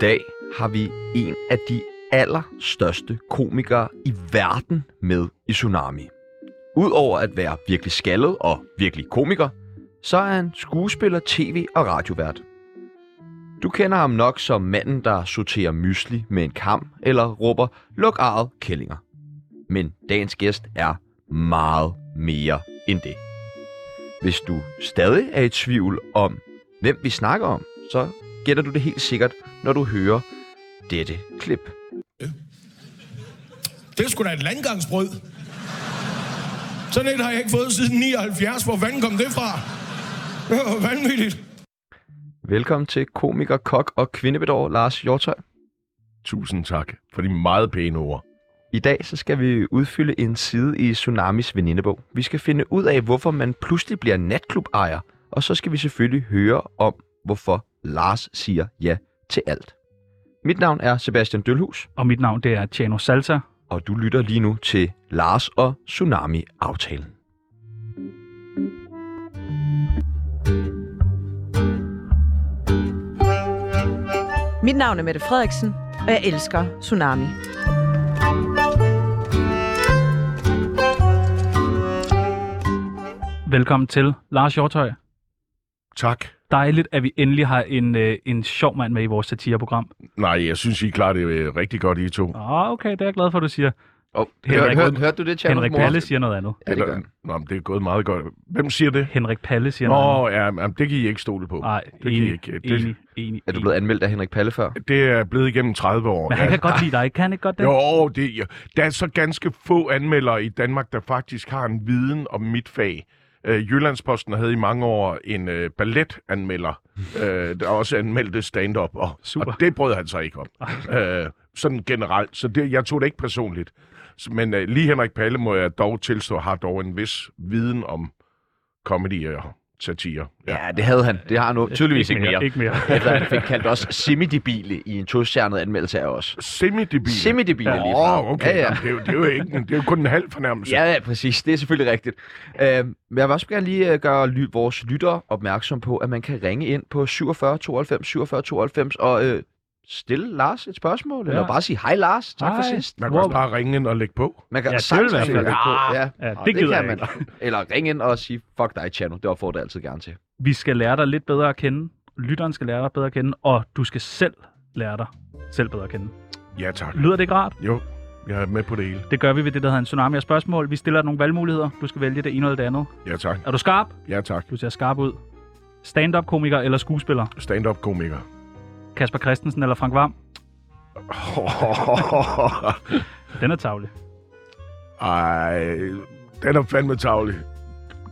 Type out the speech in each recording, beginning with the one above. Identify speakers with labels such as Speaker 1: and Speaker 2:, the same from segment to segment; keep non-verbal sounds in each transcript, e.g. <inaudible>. Speaker 1: dag har vi en af de allerstørste komikere i verden med i Tsunami. Udover at være virkelig skaldet og virkelig komiker, så er han skuespiller, tv- og radiovært. Du kender ham nok som manden, der sorterer mysli med en kam eller råber, luk arret, kællinger. Men dagens gæst er meget mere end det. Hvis du stadig er i tvivl om, hvem vi snakker om, så gætter du det helt sikkert, når du hører dette klip.
Speaker 2: Det er sgu da et landgangsbrød. Sådan et har jeg ikke fået siden 79. Hvor fanden kom det fra? Det var vanvittigt.
Speaker 1: Velkommen til komiker, kok og kvindebedår Lars Hjortøj.
Speaker 3: Tusind tak for de meget pæne ord.
Speaker 1: I dag så skal vi udfylde en side i Tsunamis venindebog. Vi skal finde ud af, hvorfor man pludselig bliver natklubejer, og så skal vi selvfølgelig høre om, hvorfor Lars siger ja til alt. Mit navn er Sebastian Dølhus,
Speaker 4: Og mit navn det er Tjano Salsa.
Speaker 1: og du lytter lige nu til Lars og Tsunami-aftalen.
Speaker 5: Mit navn er Mette Frederiksen, og jeg elsker Tsunami.
Speaker 4: Velkommen til Lars Hjortøj.
Speaker 3: Tak.
Speaker 4: Dejligt, at vi endelig har en, øh, en sjov mand med i vores satireprogram.
Speaker 3: Nej, jeg synes, I klarer det øh, rigtig godt, I to.
Speaker 4: Ah, okay, det er jeg glad for, at du siger.
Speaker 1: Oh,
Speaker 4: Henrik Rød-
Speaker 1: hørte du det, Tjerno?
Speaker 4: Henrik Palle siger noget andet.
Speaker 1: Ja, det gør han.
Speaker 3: Nå, men det er gået meget godt. Hvem siger det?
Speaker 4: Henrik Palle siger noget andet.
Speaker 3: Nå, ja, men det kan I ikke stole på.
Speaker 4: Nej,
Speaker 3: det kan I
Speaker 4: enig,
Speaker 3: ikke.
Speaker 4: enig,
Speaker 3: Det,
Speaker 4: enig,
Speaker 1: Er du
Speaker 4: enig.
Speaker 1: blevet anmeldt af Henrik Palle før?
Speaker 3: det er blevet igennem 30 år.
Speaker 4: Men han kan godt lide dig, kan han ikke godt det?
Speaker 3: Jo, det, ja. der er så ganske få anmeldere i Danmark, der faktisk har en viden om mit fag. Øh, Jyllandsposten havde i mange år en øh, balletanmelder, øh, der også anmeldte stand-up, og,
Speaker 4: Super.
Speaker 3: og det brød han sig ikke om. Øh, sådan generelt, så det, jeg tog det ikke personligt. Så- Men øh, lige Henrik Palle, må jeg dog tilstå, har dog en vis viden om comedy og satire.
Speaker 1: Ja, det havde han. Det har han nu tydeligvis <laughs> ikke mere.
Speaker 4: Ikke mere.
Speaker 1: Efter han fik kaldt os semidebile i en tostjernet anmeldelse af os.
Speaker 3: Semi-debil.
Speaker 1: Semidebile lige
Speaker 3: Åh, okay.
Speaker 1: Ja, ja.
Speaker 3: Jamen, Det, er jo, det, er jo ikke, en- det er jo kun en halv fornærmelse.
Speaker 1: Ja, ja, præcis. Det er selvfølgelig rigtigt. Øh, men jeg vil også gerne lige øh, gøre ly- vores lyttere opmærksom på, at man kan ringe ind på 47 92 47 92 og øh, stille Lars et spørgsmål, ja.
Speaker 4: Ja.
Speaker 1: eller bare sige, hej Lars, tak for
Speaker 4: Hej.
Speaker 1: sidst.
Speaker 3: Man kan også
Speaker 4: Wow.
Speaker 3: bare ringe ind og lægge på.
Speaker 1: Man kan
Speaker 4: Ja, det
Speaker 1: sagtens
Speaker 4: vil være
Speaker 1: ringe
Speaker 4: fedt. Ah,
Speaker 1: ind på. Ja.
Speaker 4: Ja,
Speaker 1: Og
Speaker 4: det gider
Speaker 1: Ah, kan
Speaker 4: jeg ikke.
Speaker 1: <laughs> Eller ringe ind og sige, fuck dig, Chano. Det opfordrer jeg altid gerne til.
Speaker 4: Vi skal lære dig lidt bedre at kende. Lytteren skal lære dig bedre at kende, og du skal selv lære dig selv bedre at kende.
Speaker 3: Ja, tak.
Speaker 4: Lyder det ikke rart?
Speaker 3: Jo, jeg er med på det hele.
Speaker 4: Det gør vi ved det, der hedder en tsunami af spørgsmål. Vi stiller dig nogle valgmuligheder. Du skal vælge det ene eller det andet.
Speaker 3: Ja, tak.
Speaker 4: Er du skarp?
Speaker 3: Ja, tak.
Speaker 4: Du ser skarp ud. Stand-up-komiker eller skuespiller?
Speaker 3: Stand-up-komiker.
Speaker 4: Kasper Christensen eller Frank Vam? Den er tavlig.
Speaker 3: Ej, den er fandme tavlig.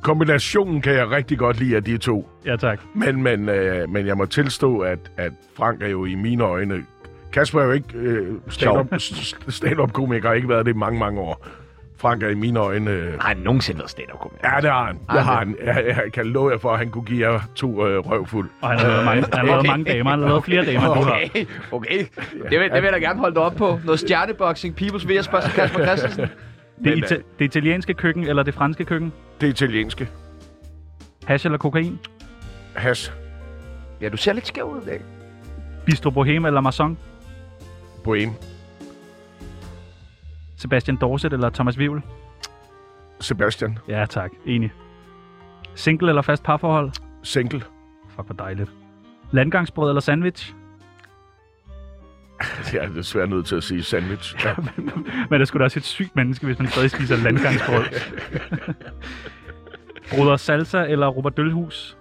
Speaker 3: Kombinationen kan jeg rigtig godt lide af de to.
Speaker 4: Ja, tak.
Speaker 3: Men, men, øh, men jeg må tilstå, at, at Frank er jo i mine øjne... Kasper er jo ikke øh, stand-up- s- s- stand-up-komiker, har ikke været det i mange, mange år. Frank er i mine øjne... Øh,
Speaker 1: Har han nogensinde været <laughs> stand-up-komiker?
Speaker 3: ja, det har han.
Speaker 1: Ej,
Speaker 3: Det har han. Jeg, jeg kan love jer for, at han kunne give jer to øh, røvfuld.
Speaker 4: Og han har lavet mange, han har lavet mange damer. Han har lavet flere damer, end du har.
Speaker 1: Okay, okay. Det vil, det vil jeg da gerne holde dig op på. Noget stjerneboxing, Peoples vs. Kasper Christensen.
Speaker 4: Det, ita- det italienske køkken eller det franske køkken?
Speaker 3: Det italienske.
Speaker 4: Hash eller kokain?
Speaker 3: Has.
Speaker 1: Ja, du ser lidt skæv ud i dag.
Speaker 4: Bistro Boheme eller Marson?
Speaker 3: Bohem.
Speaker 4: Sebastian Dorset eller Thomas Vivl?
Speaker 3: Sebastian.
Speaker 4: Ja, tak. Enig. Single eller fast parforhold?
Speaker 3: Single.
Speaker 4: Fuck, hvor dejligt. Landgangsbrød eller sandwich?
Speaker 3: <laughs> Jeg er desværre nødt til at sige sandwich. Ja.
Speaker 4: Men det skulle da også et sygt menneske, hvis man stadig spiser
Speaker 3: <laughs>
Speaker 4: landgangsbrød. Bruder Salsa eller Robert Dølhus?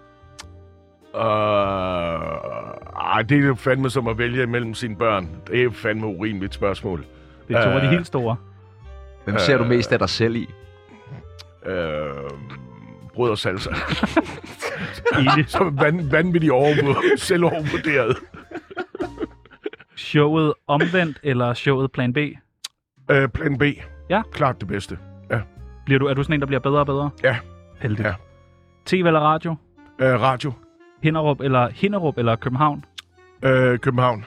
Speaker 3: Uh, ej, det er jo fandme som at vælge imellem sine børn. Det er fandme urimeligt spørgsmål.
Speaker 4: Det er to af de
Speaker 3: Øh.
Speaker 4: helt store.
Speaker 1: Hvem ser du mest af dig selv i?
Speaker 3: Uh, brød og salsa.
Speaker 4: <laughs> Enig.
Speaker 3: <laughs> Som van, vanvittigt overvur- selv overvurderet.
Speaker 4: Showet omvendt eller showet plan B?
Speaker 3: Uh, plan B.
Speaker 4: Ja.
Speaker 3: Klart det bedste.
Speaker 4: Bliver du, er du sådan en, der bliver bedre og bedre?
Speaker 3: Ja.
Speaker 4: Heldigt.
Speaker 3: Ja.
Speaker 4: TV eller radio?
Speaker 3: Uh, radio.
Speaker 4: Hinderup eller, Hinderup eller København?
Speaker 3: Uh, København.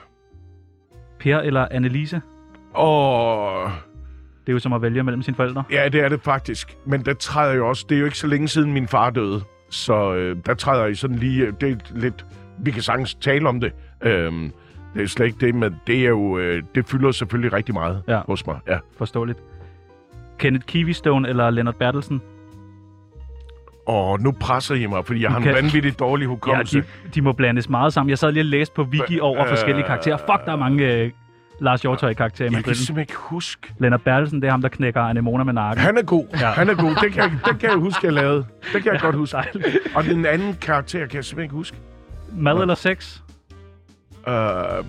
Speaker 4: Per eller Annelise?
Speaker 3: Og...
Speaker 4: Det er jo som at vælge mellem sine forældre.
Speaker 3: Ja, det er det faktisk. Men der træder jo også... Det er jo ikke så længe siden, min far døde. øh, Så øh, der træder I sådan lige... Det er lidt... Vi kan sagtens tale om det. Øhm, Det er slet ikke det, men det er jo... Øh, det fylder selvfølgelig rigtig meget
Speaker 4: Ja.
Speaker 3: ja. hos mig. Ja.
Speaker 4: Forståeligt. Kenneth Kivistone eller Leonard Bertelsen?
Speaker 3: Og nu presser I mig, fordi jeg har en
Speaker 4: kan-
Speaker 3: vanvittigt dårlig
Speaker 4: Ja,
Speaker 3: hukommelse.
Speaker 4: de, de må blandes meget sammen. Jeg sad lige og læste på Wiki over
Speaker 3: øh,
Speaker 4: forskellige karakterer. Fuck, der er mange øh, Lars Hjortøj-karakterer i
Speaker 3: jeg kan
Speaker 4: mandrillen.
Speaker 3: simpelthen ikke huske.
Speaker 4: Lennart Bertelsen, det er ham, der knækker anemoner med nakken.
Speaker 3: Han er god. Ja. Han er god. Det kan, jeg, det kan jeg huske, jeg lavede. Det kan jeg ja, godt huske.
Speaker 4: dejligt.
Speaker 3: Og den anden karakter kan jeg simpelthen ikke huske.
Speaker 4: Mad eller sex?
Speaker 3: Øh,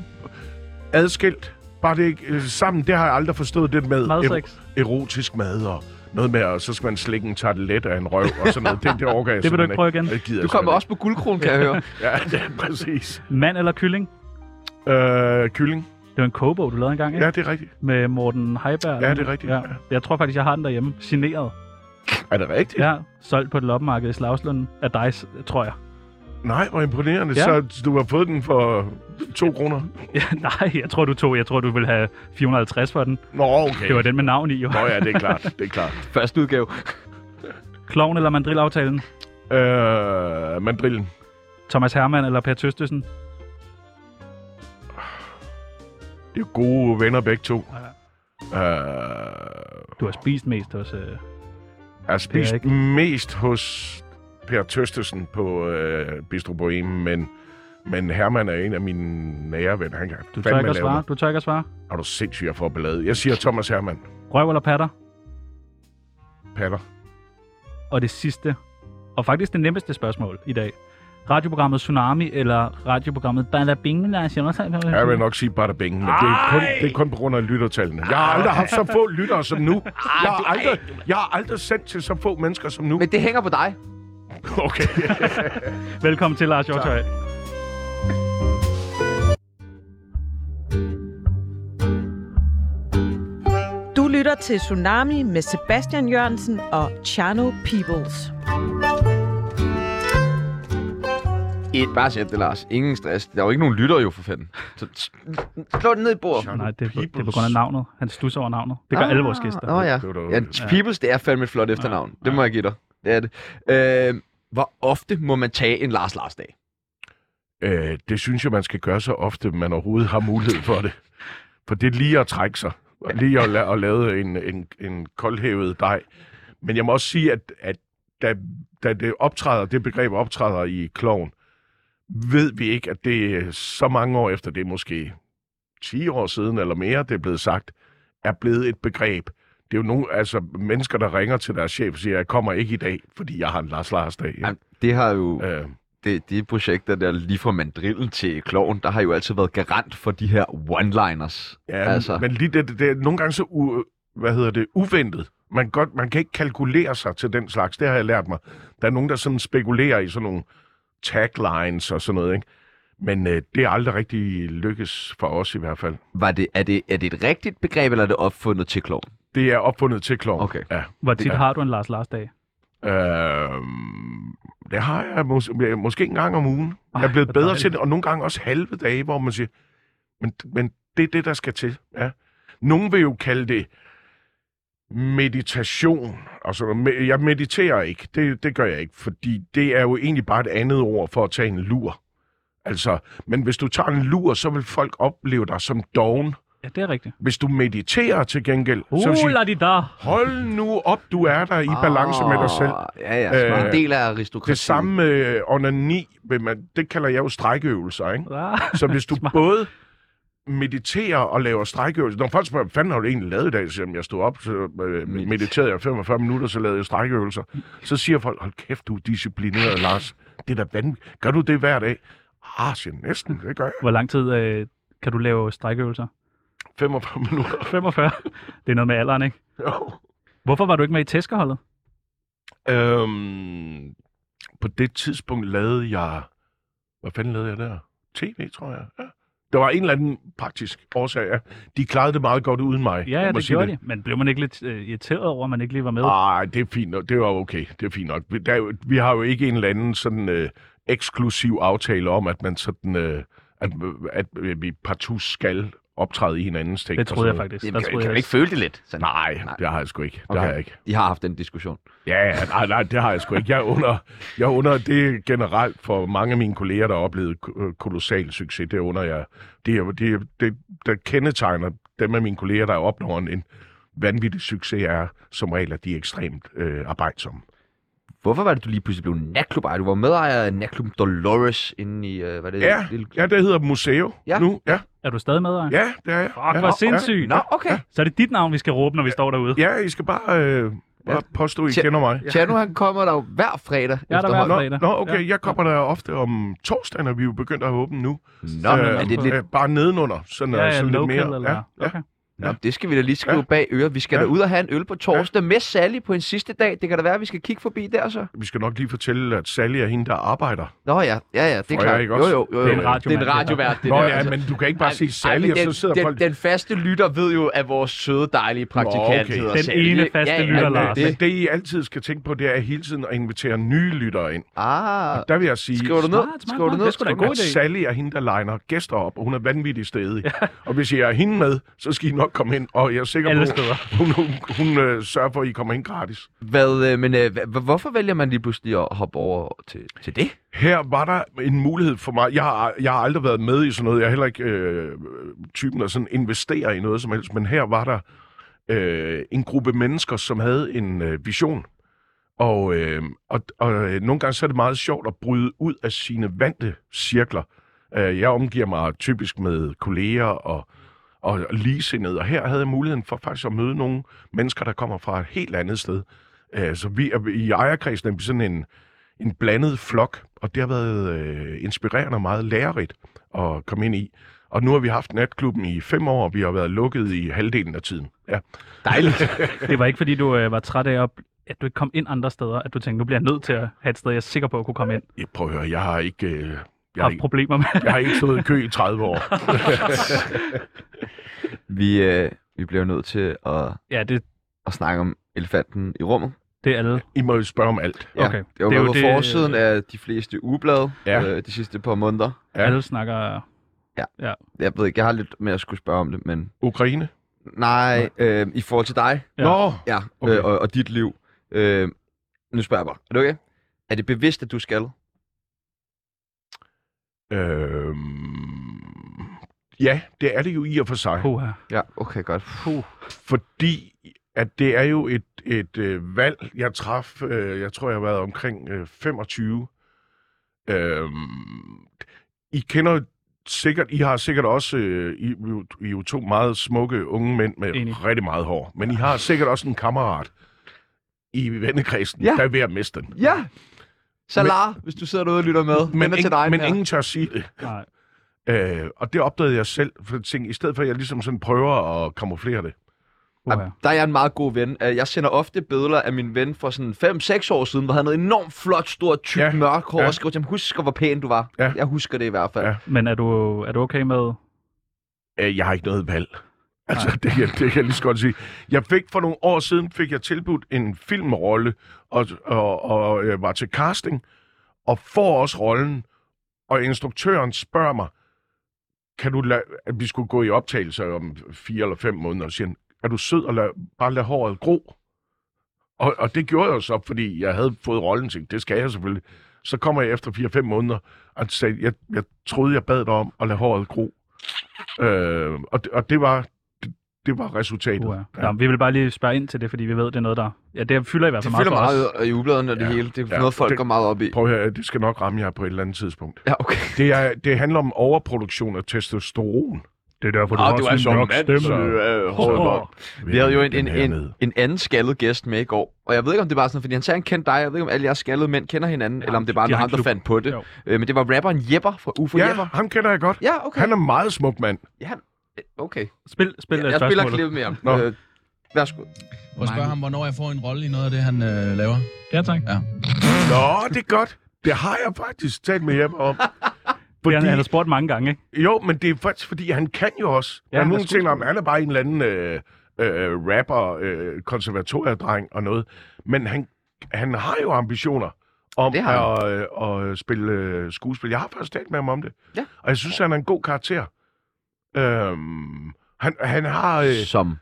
Speaker 3: adskilt. Bare det ikke øh, sammen. Det har jeg aldrig forstået det med
Speaker 4: Madsex.
Speaker 3: erotisk mad og noget med, og så skal man slikke en tartelet af en røv og sådan noget. Det, det overgår
Speaker 4: <laughs>
Speaker 3: jeg
Speaker 4: Det vil du ikke
Speaker 3: simpelthen
Speaker 4: prøve igen?
Speaker 3: Det gider
Speaker 1: Du
Speaker 3: jeg
Speaker 1: kommer
Speaker 3: simpelthen
Speaker 1: også på guldkron, kan jeg høre.
Speaker 3: ikke. Ja, <laughs> ja, præcis.
Speaker 4: Mand eller kylling?
Speaker 3: Øh, kylling.
Speaker 4: Det var en kogebog, du lavede engang, ikke?
Speaker 3: Ja, det er rigtigt.
Speaker 4: Med Morten Heiberg.
Speaker 3: Ja, det er rigtigt, ja.
Speaker 4: Jeg tror faktisk, jeg har den derhjemme. Signeret.
Speaker 3: Er det rigtigt?
Speaker 4: Ja, solgt på et loppemarked i Slagslund af dig, tror jeg. <laughs>
Speaker 3: Nej, hvor imponerende.
Speaker 4: Ja.
Speaker 3: Ja. Så du har fået den for to kroner.
Speaker 4: Ja, nej, jeg tror, du tog. Jeg tror, du ville have 450 for den.
Speaker 3: Nå, okay.
Speaker 4: Det var den med navn i, jo.
Speaker 3: Nå
Speaker 4: <laughs>
Speaker 3: ja, det er klart. Det er klart.
Speaker 1: <laughs> Første udgave.
Speaker 4: Kloven eller mandrilaftalen?
Speaker 3: Øh, mandrillen.
Speaker 4: Thomas Hermann eller Per Tøstesen?
Speaker 3: Det er jo gode venner begge to.
Speaker 4: Ja.
Speaker 3: Øh,
Speaker 4: Du har spist mest hos... Øh...
Speaker 3: jeg spiste
Speaker 4: ikke-
Speaker 3: mest hos Per Tøstesen på øh, Bistro Boheme, men, men Herman er en af mine nære venner. Han kan
Speaker 4: Du tør ikke
Speaker 3: fandme
Speaker 4: at
Speaker 3: lave
Speaker 4: svare?
Speaker 3: noget.
Speaker 4: Du tør ikke at svare?
Speaker 3: Er du sindssyg, jeg får ballade? Jeg siger Thomas Herman.
Speaker 4: Røv eller patter?
Speaker 3: Patter.
Speaker 4: Og det sidste, og faktisk det nemmeste spørgsmål i dag. Radioprogrammet Tsunami eller radioprogrammet Bada Bing med Lars Jonathan?
Speaker 3: Jeg vil nok sige bare bingen, men det er, kun, det er kun på grund af lyttertallene. Jeg har aldrig haft så få lyttere som nu. Jeg har aldrig, jeg har aldrig sendt til så få mennesker som nu.
Speaker 1: Men det hænger på dig.
Speaker 3: Okay.
Speaker 4: Velkommen til, Lars Hjortøj.
Speaker 5: Du lytter til Tsunami med Sebastian Jørgensen og Chano Peoples.
Speaker 1: Et, bare sæt det, Lars. Ingen stress. Der er jo ikke nogen lytter jo, for fanden. Så s- slå det ned i bordet.
Speaker 4: Nej, det er, på, det er på grund af navnet. Han stusser over navnet. Det gør ah, alle vores gæster.
Speaker 1: Nå ja.
Speaker 3: Det var da
Speaker 1: ja
Speaker 3: underligt.
Speaker 1: Peoples, det er fandme et flot efternavn. Det må jeg give dig. Det er det. Øh, hvor ofte må man tage en Lars Lars dag?
Speaker 3: Øh, det synes jeg, man skal gøre så ofte, man overhovedet har mulighed for det. For det er lige at trække sig. Og lige at, la- at lave en, en, en koldhævet dej. Men jeg må også sige, at, at da, da det optræder, det begreb optræder i kloven, ved vi ikke, at det er så mange år efter, det er måske 10 år siden eller mere, det er blevet sagt, er blevet et begreb. Det er jo nogle altså, mennesker, der ringer til deres chef og siger, jeg kommer ikke i dag, fordi jeg har en Lars Lars dag.
Speaker 1: Jamen, det har jo...
Speaker 3: Øh,
Speaker 1: det, de projekter der, lige fra mandrillen til kloven, der har jo altid været garant for de her one-liners.
Speaker 3: Ja, altså. men lige det, det, det er nogle gange så u, hvad hedder det, uventet. Man, godt, man kan ikke kalkulere sig til den slags. Det har jeg lært mig. Der er nogen, der sådan spekulerer i sådan nogle taglines og sådan noget, ikke? Men øh, det er aldrig rigtig lykkes for os i hvert fald.
Speaker 1: Var det, er, det, er det et rigtigt begreb, eller er det opfundet til kloven?
Speaker 3: Det er opfundet til kloven.
Speaker 1: Okay.
Speaker 3: Ja.
Speaker 4: Hvor tit har du en Lars Lars dag?
Speaker 3: Øh, det har jeg mås- ja, måske en gang om ugen. Ej, jeg er blevet
Speaker 4: hvor
Speaker 3: bedre
Speaker 4: dejligt.
Speaker 3: til det, og nogle gange også halve dage, hvor man siger, men, men det er det, der skal til. Ja. Nogen vil jo kalde det meditation. Altså, me- jeg mediterer ikke, det, det gør jeg ikke, fordi det er jo egentlig bare et andet ord for at tage en lur. Altså, men hvis du tager en lur, så vil folk opleve dig som doven.
Speaker 4: Ja, det er rigtigt.
Speaker 3: Hvis du mediterer til gengæld, så vil de
Speaker 4: Uh,
Speaker 3: sige,
Speaker 4: la di da.
Speaker 3: hold nu op, du er der i balance med dig
Speaker 4: Ah.
Speaker 3: selv.
Speaker 1: Ah, Ja, ja. Så øh,
Speaker 3: Øh,
Speaker 1: en del af aristokratiet.
Speaker 3: Det samme med øh, onani, vil man, det kalder jeg jo
Speaker 4: <laughs>
Speaker 3: strækøvelser, ikke?
Speaker 4: Ah,
Speaker 3: Så hvis du
Speaker 4: Smart.
Speaker 3: både mediterer og laver strækøvelser, når folk spørger, hvad fanden har du egentlig lavet i dag, så siger jeg, jeg stod op, så øh, mediterede jeg 45 minutter, så lavede jeg strækøvelser. Så siger folk, hold kæft, du er disciplineret, Lars. Det er da vanvittigt. Gør du det hver dag? Ah, siger jeg, næsten, det gør jeg.
Speaker 4: Hvor lang tid øh, kan du lave strækøvelser?
Speaker 3: 45 minutter. <laughs>
Speaker 4: 45. Det er noget med alderen, ikke?
Speaker 3: Jo.
Speaker 4: Hvorfor var du ikke med i tæskerholdet?
Speaker 3: Øhm, på det tidspunkt lavede jeg... Hvad fanden lavede jeg der? TV, tror jeg. Ja. Der var en eller anden praktisk årsag. Ja. De klarede det meget godt uden mig.
Speaker 4: Ja, ja det gjorde de. Men blev man ikke lidt øh, irriteret over, at man ikke lige var med?
Speaker 3: Nej, det er fint nok. Det var okay. Det er fint nok. Vi- Der, er jo- vi har jo ikke en eller anden sådan øh, eksklusiv aftale om, at man sådan... Øh, at, at vi partout skal optræde i hinandens ting.
Speaker 4: Det
Speaker 3: og
Speaker 4: troede jeg
Speaker 3: sådan noget.
Speaker 4: faktisk.
Speaker 1: Jamen,
Speaker 4: Der
Speaker 1: kan,
Speaker 4: troede
Speaker 1: kan
Speaker 4: jeg
Speaker 1: man ikke føle det lidt? Sådan.
Speaker 3: Nej,
Speaker 1: Nej.
Speaker 3: nej, det har jeg sgu ikke. Det
Speaker 1: Okay.
Speaker 3: har jeg ikke.
Speaker 1: I har haft den diskussion.
Speaker 3: Ja, ja, nej, nej, det har jeg sgu ikke. Jeg under, jeg under det generelt for mange af mine kolleger, der har oplevet ko- øh, kolossal succes. Det under jeg. Det, er- det, er- det, der kendetegner dem af mine kolleger, der opnår en, en vanvittig succes, er som regel, at de er ekstremt øh, arbejdsomme.
Speaker 1: Hvorfor var det, du lige pludselig blev natklubejer? Du var medejer af natklubben Dolores inde i... Øh, hvad det
Speaker 3: Ja,
Speaker 1: lille...
Speaker 3: ja, det hedder Museo
Speaker 1: Ja.
Speaker 3: ja. nu. Ja,
Speaker 4: Er du stadig med, Ej?
Speaker 3: ja, det er jeg.
Speaker 4: Fuck,
Speaker 3: ja,
Speaker 4: hvor sindssygt.
Speaker 1: Nå, okay.
Speaker 4: Så er det dit navn, vi skal råbe, når vi står derude.
Speaker 3: Ja, I skal bare, øh, bare påstå, I
Speaker 1: Tja.
Speaker 3: kender mig.
Speaker 1: Ja. Chano, han kommer der jo hver fredag
Speaker 4: hver
Speaker 1: efterhånden.
Speaker 4: fredag.
Speaker 3: Nå, nå, okay, jeg kommer der ofte om torsdagen, og vi er jo begyndt at åbne nu.
Speaker 1: Nå,
Speaker 3: Øh,
Speaker 1: er det lidt...
Speaker 3: øh, Bare nedenunder, sådan,
Speaker 4: ja,
Speaker 3: øh,
Speaker 4: ja
Speaker 3: sådan lidt
Speaker 4: local
Speaker 3: mere.
Speaker 4: eller...
Speaker 3: Ja, ja.
Speaker 4: Okay.
Speaker 1: Nå, det skal vi da lige skrive
Speaker 3: Ja.
Speaker 1: bag øret. Vi skal
Speaker 3: Ja.
Speaker 1: da ud og have en øl på torsdag med Sally på en sidste dag. Det kan da være, at vi skal kigge forbi der så.
Speaker 3: Vi skal nok lige fortælle, at Sally er hende, der arbejder.
Speaker 1: Nå ja, ja, ja, det er
Speaker 3: Får jeg
Speaker 1: klart.
Speaker 3: ikke
Speaker 1: Jo, jo,
Speaker 3: også?
Speaker 1: jo, jo.
Speaker 4: Det er en
Speaker 1: det er
Speaker 4: radiovært,
Speaker 1: en
Speaker 4: det her.
Speaker 1: radiovært, det
Speaker 3: Nå
Speaker 1: der.
Speaker 3: ja,
Speaker 1: altså.
Speaker 3: men du kan ikke bare sige Sally,
Speaker 1: men
Speaker 3: og så
Speaker 1: den,
Speaker 3: sidder
Speaker 1: den,
Speaker 3: folk...
Speaker 1: den faste lytter ved jo, at vores søde, dejlige
Speaker 3: Nå,
Speaker 1: praktikant
Speaker 3: okay.
Speaker 1: hedder
Speaker 4: Den
Speaker 1: Sally.
Speaker 4: ene faste lytter,
Speaker 1: men
Speaker 4: Lars.
Speaker 3: Det. Men
Speaker 1: Det.
Speaker 3: det, I altid skal tænke på, det er hele tiden at invitere nye lyttere ind.
Speaker 1: Ah,
Speaker 3: Der vil jeg sige,
Speaker 1: skriver du ned?
Speaker 4: smart, smart,
Speaker 1: Skriver du
Speaker 4: smart.
Speaker 1: ned?
Speaker 4: Det er sgu da en
Speaker 1: Skriver
Speaker 4: god
Speaker 3: at
Speaker 1: du ned?
Speaker 4: idé.
Speaker 3: Sally er hende, der legner gæster op, og hun er vanvittig stedig. og hvis I er hende med, så skal I nok komme ind, og jeg er sikker
Speaker 4: Alle
Speaker 3: på,
Speaker 4: steder.
Speaker 3: hun, hun, hun øh, sørger for, at I kommer ind gratis.
Speaker 1: Hvad, øh, men øh, hva- hvorfor vælger man lige pludselig at hoppe over til, til det?
Speaker 3: Her var der en mulighed for mig. Jeg har, jeg har aldrig været med i sådan noget. Jeg er heller ikke øh, typen, der sådan investerer i noget som helst. Men her var der øh, en gruppe mennesker, som havde en øh, vision. Og, øh, og, og øh, nogle gange så er det meget sjovt at bryde ud af sine vante cirkler. Øh, jeg omgiver mig typisk med kolleger og, og ligesindede. Og her havde jeg muligheden for faktisk at møde nogle mennesker, der kommer fra et helt andet sted. Øh, så vi er, i ejerkredsen er vi sådan en en blandet flok, og det har været øh, inspirerende og meget lærerigt at komme ind i. Og nu har vi haft natklubben i fem år, og vi har været lukket i halvdelen af tiden. Ja.
Speaker 1: Dejligt.
Speaker 4: Det var ikke, fordi du øh, var træt af, at, at du ikke kom ind andre steder, at du tænkte, nu bliver jeg nødt til at have et sted, jeg er sikker på at kunne komme ind.
Speaker 3: Jeg, prøv at høre, jeg har ikke... Øh, jeg,
Speaker 4: Jeg
Speaker 3: har
Speaker 4: har
Speaker 3: ikke,
Speaker 4: problemer
Speaker 3: <laughs>
Speaker 4: med.
Speaker 3: jeg har ikke stået i kø i 30 år.
Speaker 1: vi, øh, vi bliver nødt til at,
Speaker 4: Ja, det,
Speaker 1: at snakke om elefanten i rummet.
Speaker 4: det er alle.
Speaker 3: I må jo spørge om alt.
Speaker 1: Ja,
Speaker 4: Okay.
Speaker 1: Det øh, var
Speaker 4: Det er
Speaker 1: jo
Speaker 4: jo
Speaker 1: på
Speaker 4: det-
Speaker 1: forsiden af de fleste ugeblade
Speaker 3: Ja.
Speaker 1: øh, de sidste par måneder.
Speaker 3: Ja.
Speaker 4: Alle snakker... uh,
Speaker 1: Jeg ved ikke, jeg har lidt mere at skulle spørge om det, men
Speaker 3: Ukraine?
Speaker 1: nej, øh, i forhold til dig
Speaker 4: Ja.
Speaker 3: Ja. Nå!
Speaker 1: ja, okay.
Speaker 3: Okay.
Speaker 1: øh, og, og dit liv. Øh, nu spørger jeg bare, er det okay? Er det bevidst, at du skal?
Speaker 3: Øhm, ja, det er det jo i og for sig.
Speaker 4: Puha.
Speaker 1: Ja, okay, godt. Puh.
Speaker 3: fordi at det er jo et, et øh, valg, jeg traf, øh, jeg tror, jeg har været omkring øh, 25. Øhm, I kender sikkert, I har sikkert også, øh, I, I er jo to meget smukke unge mænd med
Speaker 4: Enig.
Speaker 3: Enig. rigtig meget hår, men I har sikkert også en kammerat i vennekredsen,
Speaker 1: Ja.
Speaker 3: ja. der er ved at miste den.
Speaker 1: Ja! Salar, men, hvis du sidder derude og lytter med, men,
Speaker 3: Men,
Speaker 1: ingen, til dig.
Speaker 3: ingen, men
Speaker 1: her.
Speaker 3: ingen tør sige det.
Speaker 4: Nej.
Speaker 3: Øh, og det opdagede jeg selv, for jeg tænkte, i stedet for at jeg ligesom sådan prøver at kamuflere det,
Speaker 4: Puha.
Speaker 1: Der er jeg en meget god ven. Øh, Jeg sender ofte billeder af min ven fra sådan 5-6 år siden, hvor han havde enormt flot, stort, tyk, ja.
Speaker 3: Ja,
Speaker 1: mørk hår, ja.
Speaker 3: ja.
Speaker 1: og skrev til ham, husk hvor pæn du var.
Speaker 3: Ja.
Speaker 1: Jeg husker det i hvert fald.
Speaker 3: Ja.
Speaker 4: Men er du, er du okay med...
Speaker 3: Øh, jeg har ikke noget valg. Altså, det, kan, det kan jeg lige så godt sige. Jeg fik for nogle år siden, fik jeg tilbudt en filmrolle, og, og, og øh, var til casting, og får også rollen, og instruktøren spørger mig, kan du lade, at vi skulle gå i optagelse om fire eller fem måneder, og siger, han, er du sød og lad, bare lade håret gro? Og, og det gjorde jeg jo så, fordi jeg havde fået rollen, tænkte, det skal jeg selvfølgelig. Så kommer jeg efter 4-5 måneder, og sagde, jeg, jeg troede, jeg bad dig om at lade håret gro. Øh, og, det- og det var det, det var resultatet.
Speaker 4: Puha. Ja. uh-huh? vi vil bare lige spørge ind til det, fordi vi ved, det er noget, der... Ja, det fylder i hvert
Speaker 1: Det
Speaker 4: fald meget
Speaker 1: fylder
Speaker 4: for os.
Speaker 1: meget i ubladene og det
Speaker 3: Ja.
Speaker 1: hele. Det er
Speaker 3: Ja.
Speaker 1: noget, folk
Speaker 3: Det-
Speaker 1: går meget op i.
Speaker 3: Prøv her, det skal nok ramme jer på et eller andet tidspunkt.
Speaker 1: Ja, okay.
Speaker 3: Det, er, det handler om overproduktion af testosteron.
Speaker 4: Det er derfor,
Speaker 1: Ah, du er så en mand, så,
Speaker 3: så-
Speaker 1: øh, håret var- Vi havde jo en, en,
Speaker 3: Den her
Speaker 1: en,
Speaker 3: ned.
Speaker 1: en anden skaldet gæst med i går, og jeg ved ikke, om det var sådan, fordi han sagde, han kendte dig, jeg ved ikke, om alle jeres skaldede mænd kender hinanden, ja, eller om det bare
Speaker 4: de
Speaker 1: var
Speaker 4: har
Speaker 1: ham,
Speaker 4: en
Speaker 1: der
Speaker 4: klub.
Speaker 1: fandt på det.
Speaker 4: Jo.
Speaker 1: Øh, men det var rapperen Jepper fra UFO
Speaker 3: Ja,
Speaker 1: Jepper.
Speaker 3: ham kender jeg godt.
Speaker 1: Ja, okay.
Speaker 3: Han er en meget smuk mand.
Speaker 1: Ja, øh, okay.
Speaker 4: Spil, spil
Speaker 1: Jeg,
Speaker 4: ja,
Speaker 1: jeg spiller
Speaker 4: spørgsmålet.
Speaker 1: klippet med ham.
Speaker 3: Nå.
Speaker 1: Øh, værsgo.
Speaker 6: Prøv at spørge ham, hvornår jeg får en rolle i noget af det, han øh, laver.
Speaker 4: Ja, tak.
Speaker 3: Nå, det er godt. Det har jeg faktisk talt med hjem om.
Speaker 4: Fordi... Han,
Speaker 3: Fordi-
Speaker 4: han har spurgt mange gange, ikke?
Speaker 3: Jo, men det er faktisk, fordi han kan jo også.
Speaker 4: Ja,
Speaker 3: Ja, der er
Speaker 4: han er
Speaker 3: nogen ting om, han er bare en eller anden øh, øh, rapper, øh, konservatoriedreng og noget. Men han, han har jo ambitioner om
Speaker 1: Det har
Speaker 3: at, øh, at spille øh, skuespil. Jeg har faktisk talt med ham om det.
Speaker 1: Ja.
Speaker 3: Og jeg synes, han er en god karakter. Øhm, han, han har... Øh,
Speaker 1: Som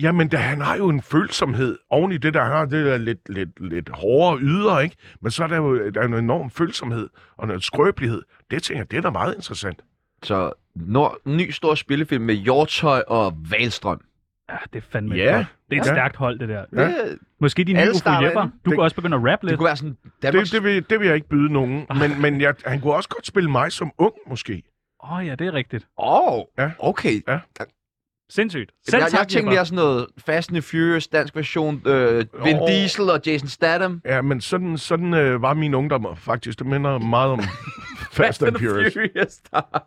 Speaker 3: Jamen, da, han har jo en følsomhed oven i det, der han har det der lidt, lidt, lidt hårdere yder, ikke? Men så er der jo der er en enorm følsomhed og en skrøbelighed. Det tænker jeg, det er da meget interessant.
Speaker 1: så når, ny stor spillefilm med Hjortøj og Valstrøm.
Speaker 4: Ja, det er fandme
Speaker 3: Ja.
Speaker 4: godt. Det er et
Speaker 3: Ja.
Speaker 4: stærkt hold, det der.
Speaker 1: Ja.
Speaker 3: Ja.
Speaker 1: Det,
Speaker 4: Måske din nye
Speaker 1: Alle
Speaker 4: Ufo
Speaker 1: starter
Speaker 4: Jepper.
Speaker 1: inden.
Speaker 4: Du
Speaker 3: Det-
Speaker 4: kan også begynde at rappe
Speaker 1: det
Speaker 4: lidt.
Speaker 1: kunne være sådan Danmarks...
Speaker 3: Det, det, vil, det vil jeg ikke byde nogen, men, men jeg, han kunne også godt spille mig som ung, måske.
Speaker 4: Åh oh, ja, det er rigtigt.
Speaker 1: Åh, oh,
Speaker 3: Ja.
Speaker 1: okay.
Speaker 4: Sindssygt. Selv
Speaker 1: Selv jeg, jeg
Speaker 4: tak,
Speaker 1: tænkte
Speaker 4: Jepper.
Speaker 1: mere sådan noget Fast and Furious dansk version, øh, Vin
Speaker 3: Åh.
Speaker 1: Diesel og Jason
Speaker 3: <laughs>
Speaker 1: Statham.
Speaker 3: Ja, men sådan, sådan øh, var min ungdom faktisk. Det minder meget <laughs> om Fast and Furious.
Speaker 1: Furious der.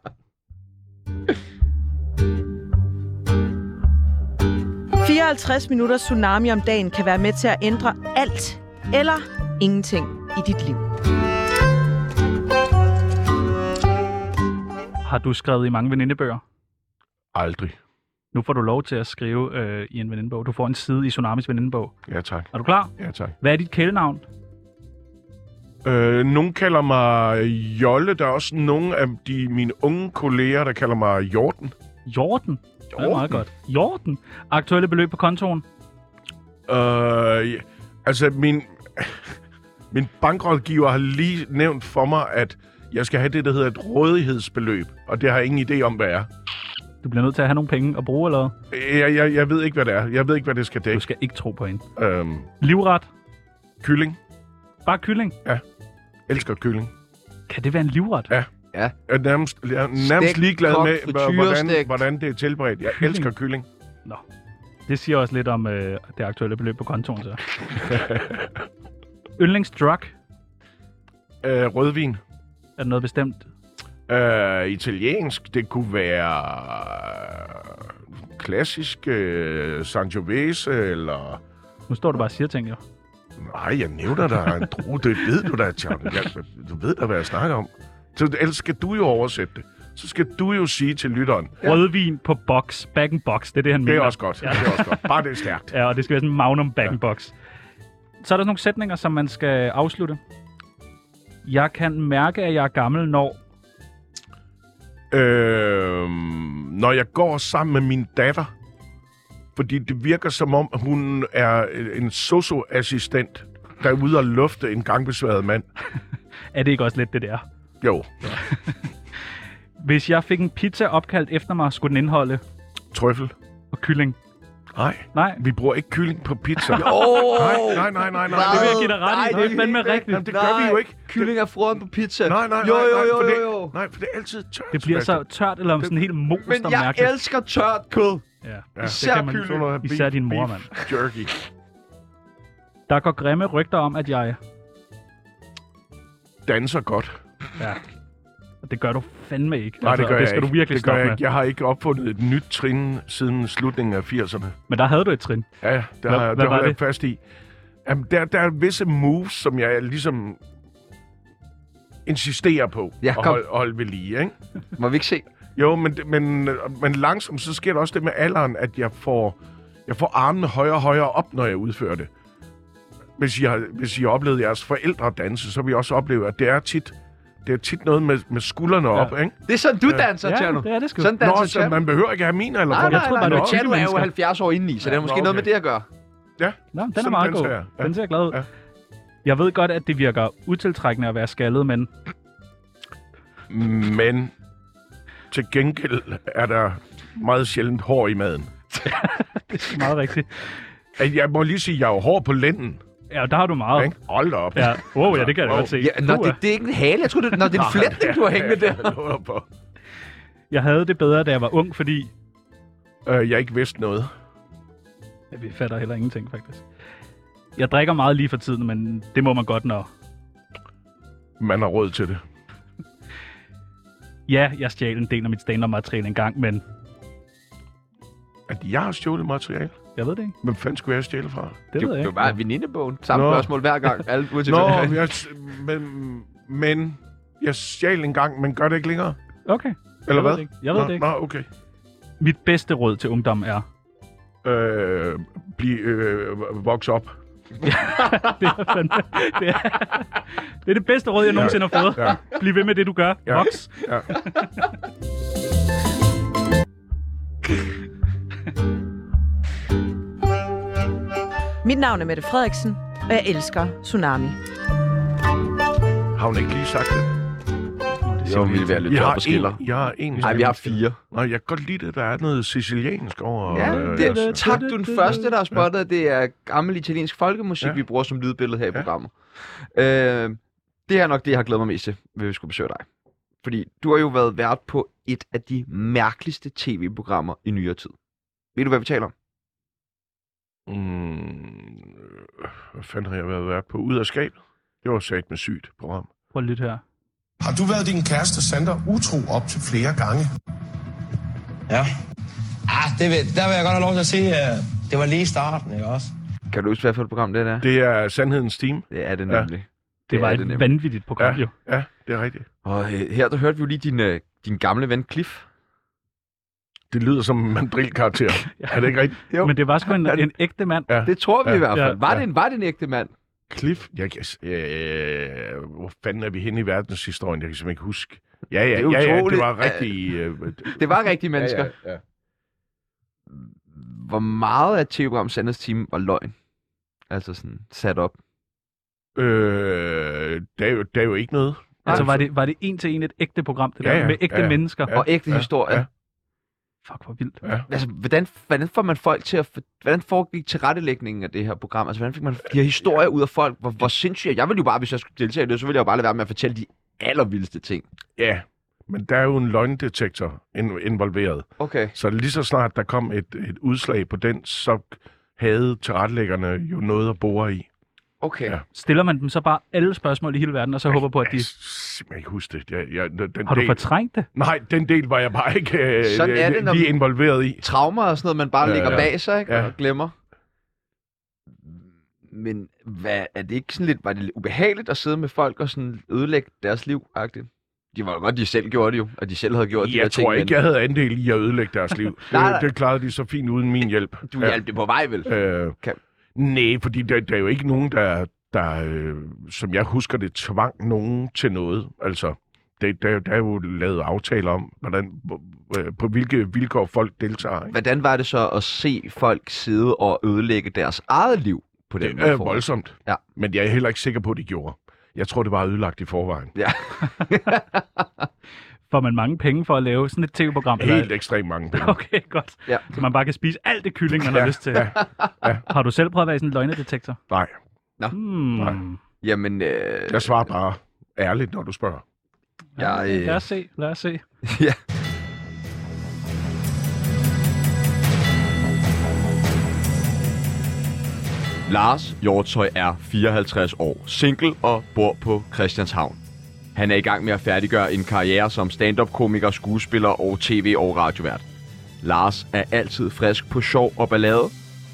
Speaker 5: det. 54 minutter tsunami om dagen kan være med til at ændre alt eller ingenting i dit liv.
Speaker 4: Har du skrevet i mange venindebøger?
Speaker 3: Aldrig.
Speaker 4: Nu får du lov til at skrive øh, i en venindebog. Du får en side i Tsunamis venindebog.
Speaker 3: Ja, tak.
Speaker 4: Er du klar?
Speaker 3: Ja, tak.
Speaker 4: Hvad er dit kælenavn?
Speaker 3: Øh, nogen kalder mig Jolle. Der er også nogle af de, mine unge kolleger, der kalder mig Jorten.
Speaker 4: Jorden. Det er meget
Speaker 3: Jorden?
Speaker 4: godt. Jorden. Aktuelle beløb på kontoen?
Speaker 3: Øh, ja, altså, min, <laughs> min bankrådgiver har lige nævnt for mig, at jeg skal have det, der hedder et rådighedsbeløb, og det har jeg ingen idé om, hvad er.
Speaker 4: Du bliver nødt til at have nogle penge at bruge, eller hvad?
Speaker 3: Jeg, jeg, jeg ved ikke, hvad det er. Jeg ved ikke, hvad det skal
Speaker 4: Du
Speaker 3: dække.
Speaker 4: skal ikke tro på hende.
Speaker 3: Øhm,
Speaker 4: Livret.
Speaker 3: kylling.
Speaker 4: Bare kylling.
Speaker 3: Elsker kylling.
Speaker 4: Kan det være en livret?
Speaker 3: Ja. Jeg er nærmest, jeg er nærmest
Speaker 1: Stegt,
Speaker 3: ligeglad
Speaker 1: kogt,
Speaker 3: med, hva- hvordan,
Speaker 1: frituresstegt.
Speaker 3: hvordan det er tilberedt. Jeg
Speaker 4: Kylling.
Speaker 1: <laughs>
Speaker 3: elsker kylling.
Speaker 4: Det siger også lidt om øh, det aktuelle beløb på kontoen, så. Yndlingsdrug.
Speaker 3: Øh, rødvin.
Speaker 4: Er det noget bestemt?
Speaker 3: Øh, italiensk, det kunne være klassisk øh, Sangiovese, eller...
Speaker 4: Nu står du bare og siger ting, jo.
Speaker 3: Nej, jeg nævner
Speaker 1: <laughs>
Speaker 3: dig en drue. Det ved du da, Tjern. Jeg, du ved da, hvad jeg snakker om. Så, ellers skal du jo oversætte det. Så skal du jo sige til lytteren,
Speaker 4: Ja. Rødvin på box. Back in box. Det er det, han
Speaker 3: det er
Speaker 4: mener.
Speaker 3: også godt. Ja. Det er også godt. Bare det er stærkt.
Speaker 4: Ja, og det skal være sådan en magnum back in box. Så er der sådan nogle sætninger, som man skal afslutte. Jeg kan mærke, at jeg er gammel, når...
Speaker 3: Øh, når jeg går sammen med min datter, fordi det virker som om, hun er en socioassistent, der er ude og lufte en gangbesværet mand.
Speaker 4: Er det ikke også lidt det der?
Speaker 3: Jo,
Speaker 4: Hvis jeg fik en pizza opkaldt efter mig, skulle den indeholde
Speaker 3: trøffel.
Speaker 4: og kylling.
Speaker 3: Nej,
Speaker 4: Nej,
Speaker 3: vi bruger ikke kylling på
Speaker 1: <laughs>
Speaker 3: pizza.
Speaker 1: Åh!
Speaker 3: Nej, nej, nej, nej, nej.
Speaker 4: det vil
Speaker 3: Det,
Speaker 4: jeg give dig ret i.
Speaker 1: Nej,
Speaker 4: Det er fandme rigtigt.
Speaker 3: jamen, det gør vi jo ikke.
Speaker 1: Kylling er frøen på pizza.
Speaker 3: Nej, nej, nej.
Speaker 1: jo, jo,
Speaker 3: nej,
Speaker 1: jo,
Speaker 3: for
Speaker 1: jo,
Speaker 3: det-
Speaker 1: jo.
Speaker 3: Nej, for det er altid tørt.
Speaker 4: det bliver så tørt eller sådan helt most
Speaker 1: Men
Speaker 4: og
Speaker 1: jeg
Speaker 4: mærkeligt.
Speaker 1: elsker tørt kød.
Speaker 4: Ja.
Speaker 3: Ja.
Speaker 1: Især kylling.
Speaker 3: Sådan noget her
Speaker 4: Især din mor,
Speaker 3: beef Jerky.
Speaker 4: Der går grimme rygter om, at jeg...
Speaker 3: Danser godt.
Speaker 4: Ja. Og det gør du fandme ikke.
Speaker 3: Nej, det gør
Speaker 4: og Altså, det
Speaker 3: jeg
Speaker 4: skal
Speaker 3: ikke.
Speaker 4: du virkelig
Speaker 3: det gør
Speaker 4: stoppe
Speaker 3: jeg
Speaker 4: med.
Speaker 3: ikke. Jeg har ikke opfundet et nyt trin siden slutningen af 80'erne.
Speaker 4: Men der havde du et trin.
Speaker 3: Ja, ja, der,
Speaker 4: Hvad-
Speaker 3: har
Speaker 4: hvad
Speaker 3: jeg- der
Speaker 4: var
Speaker 3: holder jeg
Speaker 4: det?
Speaker 3: fast i. Jamen, der, der er visse moves, som jeg ligesom insisterer på
Speaker 1: Ja,
Speaker 3: at
Speaker 1: kom.
Speaker 3: holde, holde ved lige, ikke?
Speaker 1: Må vi ikke se?
Speaker 3: Jo, men, det- men, men langsomt, så sker der også det med alderen, at jeg får, jeg får armene højere og højere op, når jeg udfører det. Hvis I har, hvis I har oplevet jeres forældre danse, så vil I også opleve, at det er tit, det er tit noget med, med skuldrene op, ikke?
Speaker 1: Det er sådan, du danser,
Speaker 4: Ja,
Speaker 1: Tjerno.
Speaker 4: det er det sgu.
Speaker 1: Sådan danser
Speaker 3: Nå, så
Speaker 1: Tjerno.
Speaker 3: man behøver ikke have mine, eller
Speaker 1: Nej,
Speaker 3: hvordan?
Speaker 1: nej,
Speaker 4: tror
Speaker 1: nej,
Speaker 4: bare, det
Speaker 1: nej.
Speaker 4: var
Speaker 1: Tjerno er jo
Speaker 4: mennesker.
Speaker 1: 70 år indeni, så det har
Speaker 3: Ja,
Speaker 1: måske
Speaker 3: nå,
Speaker 1: noget med
Speaker 3: okay.
Speaker 1: det at gøre.
Speaker 3: Ja,
Speaker 4: Nå, den er
Speaker 3: Sådan
Speaker 4: meget
Speaker 3: danser
Speaker 4: god.
Speaker 3: jeg. Ja.
Speaker 4: Den ser glad ud.
Speaker 3: Ja.
Speaker 4: Jeg ved godt, at det virker utiltrækkende at være skaldet, men
Speaker 3: men til gengæld er der meget sjældent hår i maden.
Speaker 4: det er meget rigtigt.
Speaker 3: At Jeg må lige sige, at jeg er jo hård på lænden,
Speaker 4: Ja, og der har du meget.
Speaker 3: ikke? Hold da op.
Speaker 4: Ja. Wow, ja, det kan jeg da
Speaker 3: Wow.
Speaker 4: godt se.
Speaker 1: Ja, nå,
Speaker 4: Du
Speaker 1: det,
Speaker 4: er-
Speaker 1: det er ikke en hale. Jeg troede, det, nå, det er en flætning, du har hængende
Speaker 3: <laughs>
Speaker 1: der.
Speaker 3: Jeg lover på.
Speaker 4: Jeg havde det bedre, da jeg var ung, fordi...
Speaker 3: Øh, jeg ikke vidste noget.
Speaker 4: Ja, vi fatter heller ingenting, faktisk. Jeg drikker meget lige for tiden, men det må man godt, når...
Speaker 3: Man har råd til det.
Speaker 4: Ja, jeg stjal en del af mit stand-up-materiale engang, men
Speaker 3: At jeg har stjålet materiale?
Speaker 4: jeg ved det ikke.
Speaker 3: Hvem fanden skulle jeg stjæle fra?
Speaker 1: Det
Speaker 4: Det, ved jeg
Speaker 1: det
Speaker 4: ikke.
Speaker 1: var bare venindebogen. Samme
Speaker 3: Nå.
Speaker 1: spørgsmål hver gang. Alle, uanset
Speaker 3: Nå,
Speaker 1: hvad.
Speaker 3: jeg, s- men, men jeg stjal en gang, men gør det ikke længere?
Speaker 4: Okay.
Speaker 3: Eller
Speaker 4: jeg Ved
Speaker 3: hvad?
Speaker 4: det ikke. Jeg ved
Speaker 3: nå,
Speaker 4: det ikke.
Speaker 3: Nå, okay.
Speaker 4: Mit bedste råd til ungdom er... <laughs>
Speaker 3: Øh, bliv, øh, voks op.
Speaker 4: Det er, fandme, det, er, det er det bedste råd, jeg nogensinde har fået.
Speaker 3: Ja.
Speaker 4: Bliv ved med det, du gør.
Speaker 3: Ja.
Speaker 4: Voks.
Speaker 3: Ja.
Speaker 5: Mit navn er Mette Frederiksen, og jeg elsker Tsunami.
Speaker 3: Har hun ikke lige sagt det?
Speaker 1: Så vil vi være lidt op på skiller.
Speaker 3: en, jeg har en
Speaker 1: Nej, vi har fire.
Speaker 3: Nå, jeg kan godt lide det, der er noget siciliansk over...
Speaker 1: Ja,
Speaker 3: øh,
Speaker 1: det,
Speaker 3: jeres-
Speaker 1: tak, du er den første, der har spottet, at det er gammel italiensk folkemusik,
Speaker 3: Ja.
Speaker 1: vi bruger som lydbillede her i
Speaker 3: Ja.
Speaker 1: programmet. Øh, det er nok det, jeg har glædet mig mest til, hvis vi skulle besøge dig. Fordi du har jo været vært på et af de mærkeligste tv-programmer i nyere tid. Ved du, hvad vi taler om?
Speaker 3: Mm, øh, hvad fanden har jeg været været på? Ud af skabet? Det var sat med sygt program.
Speaker 4: Prøv at lytte her.
Speaker 2: Har du været din kæreste Sander utro op til flere gange?
Speaker 6: Ja. Ah, det vil, der vil jeg godt have lov til at sige, at det var lige i starten, ikke også?
Speaker 1: Kan du huske, hvad for et program det er?
Speaker 3: Det er Sandhedens Team.
Speaker 1: Det er det
Speaker 3: Ja.
Speaker 1: nemlig.
Speaker 4: Det, det var
Speaker 1: er det
Speaker 4: et det
Speaker 1: nemlig.
Speaker 4: vanvittigt program,
Speaker 3: Ja.
Speaker 4: jo.
Speaker 3: Ja, det er rigtigt.
Speaker 1: Og øh, her, der hørte vi jo lige din, øh, din gamle ven Cliff.
Speaker 3: Det lyder som
Speaker 1: <laughs>
Speaker 3: en mandrilkarakter. Er det ikke rigtigt?
Speaker 1: Jo.
Speaker 4: Men det var sgu en,
Speaker 1: Ja.
Speaker 4: en ægte mand.
Speaker 3: <laughs> Ja.
Speaker 1: Det tror vi
Speaker 3: Ja.
Speaker 1: i hvert fald.
Speaker 4: Ja.
Speaker 1: Var,
Speaker 3: Ja.
Speaker 1: det en, var det en ægte mand?
Speaker 3: Cliff? Jeg kan, s- øh, hvor fanden er vi henne i verdenshistorien? Jeg kan simpelthen ikke huske. Ja,
Speaker 1: Det
Speaker 3: ja,
Speaker 1: er
Speaker 3: det, ja, ja, det
Speaker 1: utroligt.
Speaker 3: var rigtig... Øh, det-
Speaker 1: Det var rigtige <laughs> mennesker.
Speaker 3: Ja, ja, ja.
Speaker 1: Hvor meget af tv-program Sanders Team var løgn? Altså sådan sat op.
Speaker 3: Øh, der, er jo, der er jo ikke noget.
Speaker 4: Altså, var det, var det en til en et ægte program, det der,
Speaker 3: Ja, ja.
Speaker 4: med ægte
Speaker 3: Ja, ja.
Speaker 4: mennesker?
Speaker 1: Ja, og ægte ja,
Speaker 3: ja,
Speaker 1: historie. Ja.
Speaker 3: ja.
Speaker 4: Fuck, hvor vildt.
Speaker 1: Altså, hvordan, hvordan får man folk til at... Hvordan foregik tilrettelægningen af det her program? Altså, hvordan fik man de her historier ud af folk? Hvor, hvor sindssygt... Jeg ville jo bare, hvis jeg skulle deltage i det, så ville jeg jo bare lade være med at fortælle de allervildeste ting.
Speaker 3: Ja, men der er jo en løgndetektor in- involveret.
Speaker 1: Okay.
Speaker 3: Så lige så snart der kom et, et udslag på den, så havde tilrettelæggerne jo noget at bore i.
Speaker 1: Okay. Ja.
Speaker 3: Ja.
Speaker 4: Stiller man dem så bare alle spørgsmål i hele verden, og så håber på, at de...
Speaker 3: Jeg kan simpelthen ikke huske det. Jeg, jeg, den
Speaker 4: Har du
Speaker 3: del,
Speaker 4: fortrængt det?
Speaker 3: Nej, den del var jeg bare ikke øh,
Speaker 1: Sådan er det, når
Speaker 3: lige
Speaker 1: man-
Speaker 3: involveret i.
Speaker 1: Traumer og sådan noget, man bare ja,
Speaker 3: Ja,
Speaker 1: lægger
Speaker 3: ja.
Speaker 1: bag sig, ikke? Ja.
Speaker 3: Ja.
Speaker 1: Og glemmer. Men hvad, er det ikke sådan lidt... Var det lidt ubehageligt at sidde med folk og sådan ødelægge deres liv? -agtigt? De var jo godt, de selv gjorde det jo, og de selv havde gjort de her
Speaker 3: Jeg
Speaker 1: ting.
Speaker 3: tror
Speaker 1: men
Speaker 3: ikke, jeg havde andel i at ødelægge deres liv.
Speaker 1: <laughs>
Speaker 3: Øh,
Speaker 1: Nej, nej.
Speaker 3: det, det klarede de så fint uden min hjælp.
Speaker 1: Du hjalp det på vej, vel?
Speaker 3: Øh,
Speaker 1: Kan-
Speaker 3: Nej, fordi der, der er jo ikke nogen, der, der øh, som jeg husker det, tvang nogen til noget. Altså, det, der, der er jo lavet aftaler om, hvordan, hvor- øh, på hvilke vilkår folk deltager. Ikke?
Speaker 1: Hvordan var det så at se folk sidde og ødelægge deres eget liv på den
Speaker 3: Det
Speaker 1: måde?
Speaker 3: er voldsomt,
Speaker 1: Ja.
Speaker 3: men jeg er heller ikke sikker på, at de gjorde. Jeg tror, det var ødelagt i forvejen.
Speaker 1: Ja. <laughs>
Speaker 4: Får man mange penge for at lave sådan et tv-program? eller-
Speaker 3: Helt ekstremt mange penge.
Speaker 4: <laughs> Okay, godt.
Speaker 1: Ja.
Speaker 4: Så man bare kan spise alt det kylling, man har lyst til. Ja. Ja. Har du selv prøvet at være i sådan en løgnedetektor?
Speaker 3: Nej, Nej.
Speaker 4: Hmm.
Speaker 1: Jamen, øh,
Speaker 3: jeg svarer bare ærligt, når du spørger.
Speaker 1: jeg, øh,
Speaker 4: Lad os se, lad os se.
Speaker 1: ja. Lars Hjortøj er 54 år, single og bor på Christianshavn. Han er i gang med at færdiggøre en karriere som stand-up-komiker, skuespiller og tv- og radiovært. Lars er altid frisk på sjov og ballade,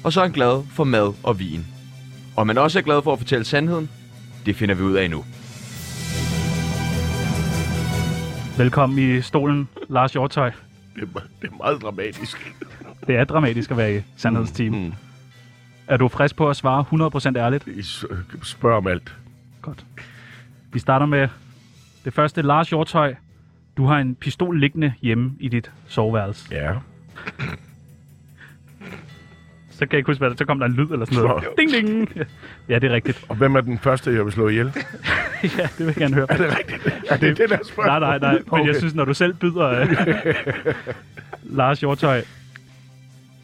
Speaker 1: og så er han glad for mad og vin. Om man også er glad for at fortælle sandheden, det finder vi ud af nu.
Speaker 4: Velkommen i stolen, Lars Hjortøj.
Speaker 3: Det er, det er meget dramatisk.
Speaker 4: Det er dramatisk at være i sandhedsteam. Mm.
Speaker 3: Mm.
Speaker 4: Er du frisk på at svare 100% ærligt?
Speaker 3: I s- spørger om alt.
Speaker 4: Godt. Vi starter med det første. Lars Hjortøj, du har en pistol liggende hjemme i dit soveværelse.
Speaker 3: Ja.
Speaker 4: Så kan jeg ikke huske, hvad det Så kom der en lyd eller sådan noget.
Speaker 3: Nå.
Speaker 4: Ding, ding. Ja, det er rigtigt.
Speaker 3: Og hvem er den første, jeg vil slå ihjel?
Speaker 4: Ja, det vil jeg gerne høre.
Speaker 3: <laughs> Er det rigtigt? Er det det, der spørger?
Speaker 4: Nej, nej, nej. Men okay. jeg
Speaker 3: Okay.
Speaker 4: synes, når du selv byder... Øh... Lars Hjortøj,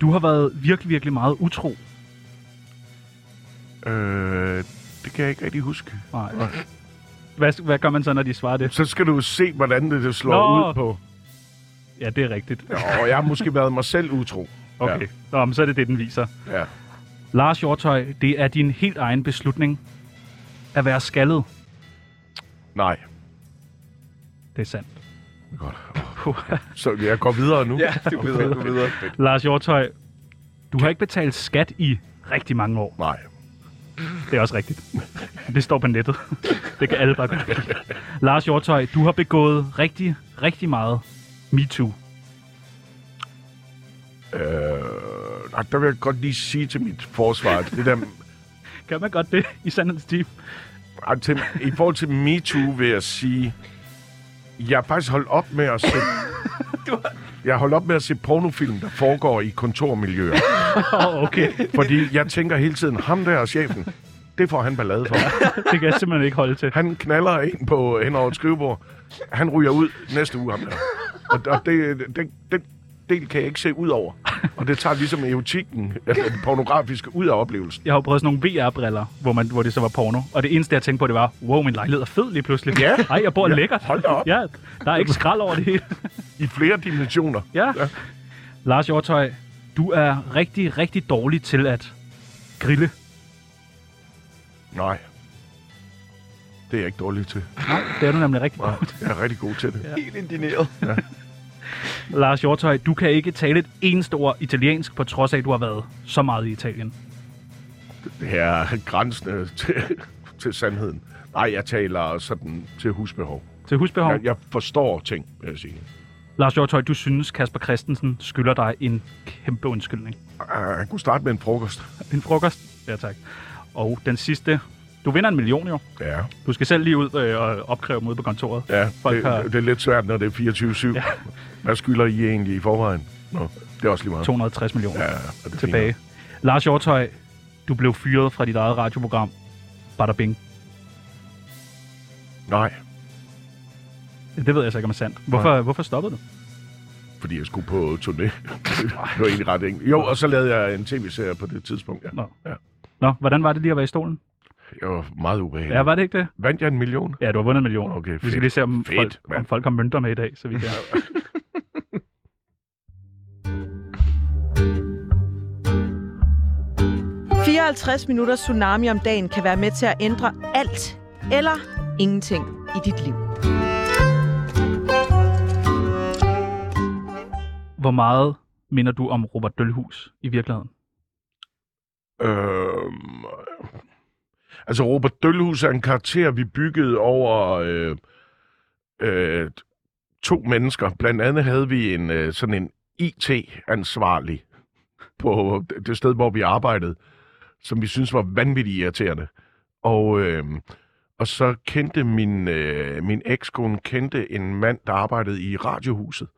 Speaker 4: du har været virkelig, virkelig meget utro.
Speaker 3: Øh, det kan jeg ikke rigtig huske.
Speaker 4: Nej. Hvad, hvad gør man så, når de svarer det?
Speaker 3: Så skal du se, hvordan det, det slår
Speaker 4: Nå.
Speaker 3: Nå. ud på.
Speaker 4: Ja, det er rigtigt.
Speaker 3: Og jeg har måske været mig selv utro.
Speaker 4: Okay. Nå, men så er det det, den viser.
Speaker 3: Ja. ja.
Speaker 4: Lars Hjortøj, det er din helt egen beslutning at være skaldet.
Speaker 3: Nej.
Speaker 4: Det er sandt.
Speaker 3: Godt. Så jeg går videre nu.
Speaker 1: du videre, du videre.
Speaker 4: Lars Hjortøj, du har ikke betalt skat i rigtig mange år.
Speaker 3: Nej.
Speaker 4: Det er også rigtigt. Det står på nettet. Det kan alle bare gøre. Lars Hjortøj, du har begået rigtig, rigtig meget MeToo.
Speaker 3: Øh, nej, der vil jeg godt lige sige til mit forsvar, at det der,
Speaker 4: Kan man godt det i Sandhedens Team?
Speaker 3: ej, til, i forhold til MeToo vil jeg sige, jeg har faktisk holdt op med at sætte,
Speaker 1: <laughs> Du har,
Speaker 3: Jeg holdt op med at se pornofilm, der foregår i kontormiljøer.
Speaker 4: Åh, okay.
Speaker 3: Fordi jeg tænker hele tiden, ham der og chefen, det får han ballade for.
Speaker 4: Det kan jeg simpelthen ikke holde til.
Speaker 3: Han knaller en på hen over et skrivebord. Han ryger ud næste uge, ham der. Og, og det, den, den del kan jeg ikke se ud over. Og det tager ligesom erotikken, altså den pornografiske, ud af oplevelsen.
Speaker 4: Jeg har jo prøvet sådan nogle VR-briller, hvor, man, hvor det så var porno. Og det eneste, jeg tænkte på, det var, wow, min lejlighed er fed lige pludselig.
Speaker 3: Ja.
Speaker 4: Ej, jeg bor ja. lækkert.
Speaker 3: hold da op.
Speaker 4: Ja, der er ikke skrald over det hele.
Speaker 3: I flere dimensioner.
Speaker 4: Ja. ja. Lars Hjortøj, du er rigtig, rigtig dårlig til at grille.
Speaker 3: Nej. Det er jeg ikke dårlig til.
Speaker 4: Nej, det er du nemlig rigtig
Speaker 3: Nej,
Speaker 4: dårlig til.
Speaker 3: jeg er rigtig god til det. Ja.
Speaker 1: Helt indineret.
Speaker 4: Lars Hjortøj, du kan ikke tale et eneste ord italiensk, på trods af, at du har været så meget i Italien.
Speaker 3: Det er grænsende til, til sandheden. Nej, jeg taler sådan til husbehov.
Speaker 4: Til husbehov.
Speaker 3: Jeg, jeg forstår ting, vil jeg sige.
Speaker 4: Lars Hjortøj, du synes, Kasper Christensen skylder dig en kæmpe undskyldning.
Speaker 3: Ah, Jeg kunne starte med en frokost.
Speaker 4: En frokost. Ja, tak. Og den sidste. Du vinder en million jo.
Speaker 3: Ja,
Speaker 4: Du skal selv lige ud øh, og opkræve dem ude på kontoret.
Speaker 3: ja
Speaker 4: Folk
Speaker 3: det,
Speaker 4: har-
Speaker 3: det er lidt svært, når det er 24-7. Ja. Hvad skylder I egentlig i forvejen? Nå, det er også lige meget.
Speaker 4: 260 millioner
Speaker 3: Ja,
Speaker 4: ja,
Speaker 3: og det er
Speaker 4: tilbage. Lars Hjortøj, du blev fyret fra dit eget radioprogram. Bada bing.
Speaker 3: fint. Nej,
Speaker 4: Det ved jeg så ikke, om er sandt. Hvorfor, hvorfor stoppede du?
Speaker 3: fordi jeg skulle på turné. det var egentlig ret enkelt. Jo, og så lavede jeg en tv-serie på det tidspunkt. Ja.
Speaker 4: Nå.
Speaker 3: Ja.
Speaker 4: Nå, hvordan var det lige at være i stolen?
Speaker 3: Jeg var meget ubehagelig.
Speaker 4: Ja, var det ikke det?
Speaker 3: Vandt jeg en million?
Speaker 4: Ja, du har vundet en million.
Speaker 3: Okay,
Speaker 4: Vi skal
Speaker 3: fedt.
Speaker 4: lige se, om,
Speaker 3: Fedt,
Speaker 4: folk, om
Speaker 3: mand.
Speaker 4: folk har mønter med i dag, så vi kan...
Speaker 5: det. 54 minutter tsunami om dagen kan være med til at ændre alt eller ingenting i dit liv.
Speaker 4: Hvor meget minder du om Robert Dølhus i virkeligheden?
Speaker 3: Øhm, altså, Robert Dølhus er en karakter, vi byggede over øh, øh, to mennesker. Blandt andet havde vi en øh, sådan en IT-ansvarlig på det sted, hvor vi arbejdede, som vi synes var vanvittigt irriterende. Og, øh, og så kendte min, øh, min ekskone kendte en mand, der arbejdede i radiohuset,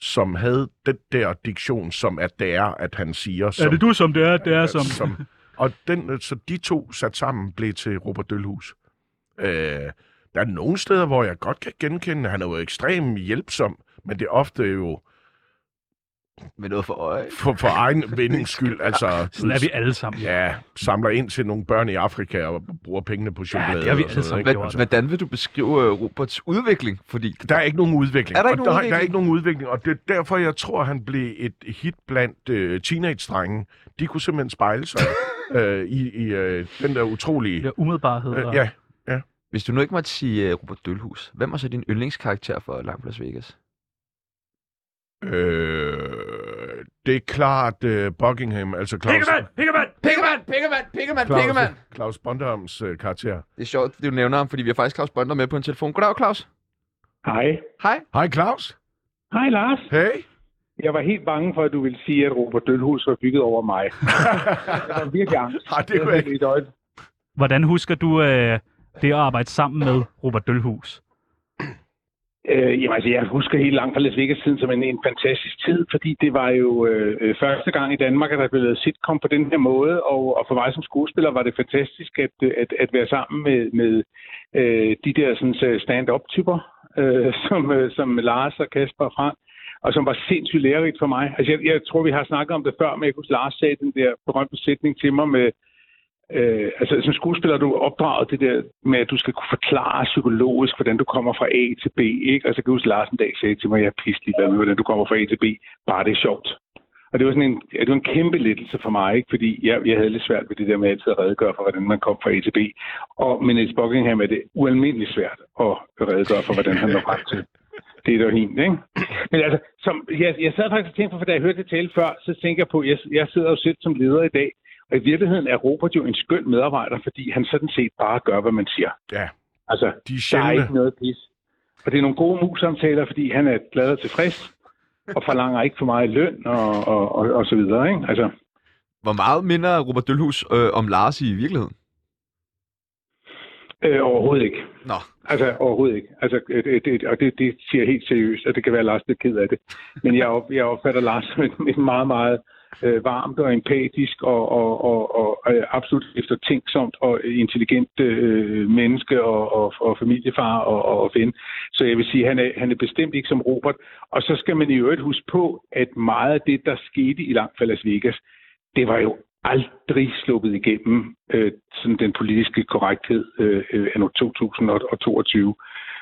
Speaker 3: som havde den der diktion, som at det er, at han siger. Som,
Speaker 4: du, som det er? Det er,
Speaker 3: som... som og den, øh, så de to sat sammen blev til Robert Dølhus. Øh, der er nogle steder, hvor jeg godt kan genkende, han er jo ekstremt hjælpsom, men det er ofte jo
Speaker 1: Med noget for øje.
Speaker 3: for, for egen vindings
Speaker 4: <laughs>
Speaker 3: skyld. Altså,
Speaker 4: Sådan er vi alle sammen.
Speaker 3: Ja, samler ind til nogle børn i Afrika og bruger pengene på chokolade.
Speaker 4: det er vi
Speaker 3: og sådan
Speaker 4: alle sammen.
Speaker 3: noget,
Speaker 1: Hvad, hvordan vil du beskrive øh, Roberts udvikling? Fordi
Speaker 3: ikke? Der er ikke nogen udvikling.
Speaker 1: Er der ikke nogen
Speaker 3: og der, der er
Speaker 1: udvikling?
Speaker 3: ikke nogen udvikling, og det er derfor, jeg tror, han blev et hit blandt øh, teenage-drenge. De kunne simpelthen spejle sig
Speaker 4: <laughs>
Speaker 3: øh, i, i øh, den der utrolige...
Speaker 4: Det er umiddelbarhed.
Speaker 3: Øh,
Speaker 4: og-
Speaker 3: ja,
Speaker 1: Hvis du nu ikke måtte sige uh, Robert Dølhus, hvem er så din yndlingskarakter for Langt Las Vegas?
Speaker 3: Øh, det er klart uh, Buckingham, altså Claus...
Speaker 4: Pikkemand!
Speaker 1: Pikkemand! Pikkemand! Pikkemand!
Speaker 3: Claus, Claus Bondams uh, karakter.
Speaker 1: Det er sjovt, at du nævner ham, fordi vi har faktisk Claus Bonder med på en telefon. Goddag, Claus.
Speaker 7: Hej.
Speaker 1: Hej.
Speaker 3: Hej Claus.
Speaker 7: Hej Lars.
Speaker 3: Hey.
Speaker 7: Jeg var helt bange for, at du ville sige, at Robert Dølhus var bygget over
Speaker 3: <laughs>
Speaker 7: mig. jeg var virkelig angst.
Speaker 3: Ej, det kunne jeg ikke.
Speaker 7: Det var helt
Speaker 4: Hvordan husker du øh, det at arbejde sammen med Robert Dølhus?
Speaker 7: Øh, jamen, altså, jeg husker helt langt fra Las Vegas siden som en, en fantastisk tid, fordi det var jo øh, øh, første gang i Danmark, at der blev lavet sitcom på den her måde, og, og for mig som skuespiller var det fantastisk at, øh, at, at være sammen med, med øh, de der sådan, så stand-up-typer, øh, <laughs> som, øh, som Lars og Kasper og Frank, og som var sindssygt lærerigt for mig. Altså, jeg, jeg tror, vi har snakket om det før, men jeg kunne Lars sagde den der berømte sætning til mig med, Øh, altså som skuespiller er du opdraget det der med, at du skal kunne forklare psykologisk, hvordan du kommer fra A til B. Ikke? Altså, jeg kan huske, Lars en dag sagde til mig, jeg er pisselig glad med, hvordan du kommer fra A til B. Bare det er sjovt. Og det var sådan en, ja, det var en kæmpe lettelse for mig, ikke? fordi jeg, jeg havde lidt svært ved det der med altid at redegøre for, hvordan man kom fra A til B. Og med Niels Buckingham er det ualmindeligt svært at redegøre for, hvordan han når frem til det er helt, ikke? Men altså, som, jeg, jeg sad faktisk og tænkte på, for da jeg hørte det tale før, så tænker jeg på, jeg, jeg sidder jo selv som leder i dag, og i virkeligheden er Robert jo en skøn medarbejder, fordi han sådan set bare gør, hvad man siger.
Speaker 3: Ja,
Speaker 7: Altså,
Speaker 3: de er
Speaker 7: der er
Speaker 3: sjældne.
Speaker 7: ikke noget pis. Og det er nogle gode mus-samtaler, fordi han er glad og tilfreds, og forlanger ikke for meget i løn, og, og, og, og så videre, ikke? Altså,
Speaker 1: Hvor meget minder Robert Dølhus øh, om Lars i virkeligheden?
Speaker 7: Øh, overhovedet ikke.
Speaker 1: Nå.
Speaker 7: Altså, overhovedet ikke. Altså, det, det, og det, det siger jeg helt seriøst, og det kan være, at Lars er lidt ked af det. Men jeg, op, jeg opfatter Lars som en, en meget, meget øh, varmt og empatisk og, og, og, og, og absolut eftertænksomt og intelligent øh, menneske og, og, og familiefar og, og, og ven. Så jeg vil sige, han er, han er bestemt ikke som Robert. Og så skal man i øvrigt huske på, at meget af det, der skete i langt fra Las Vegas, det var jo aldrig sluppet igennem øh, sådan den politiske korrekthed øh, øh, anno 2022.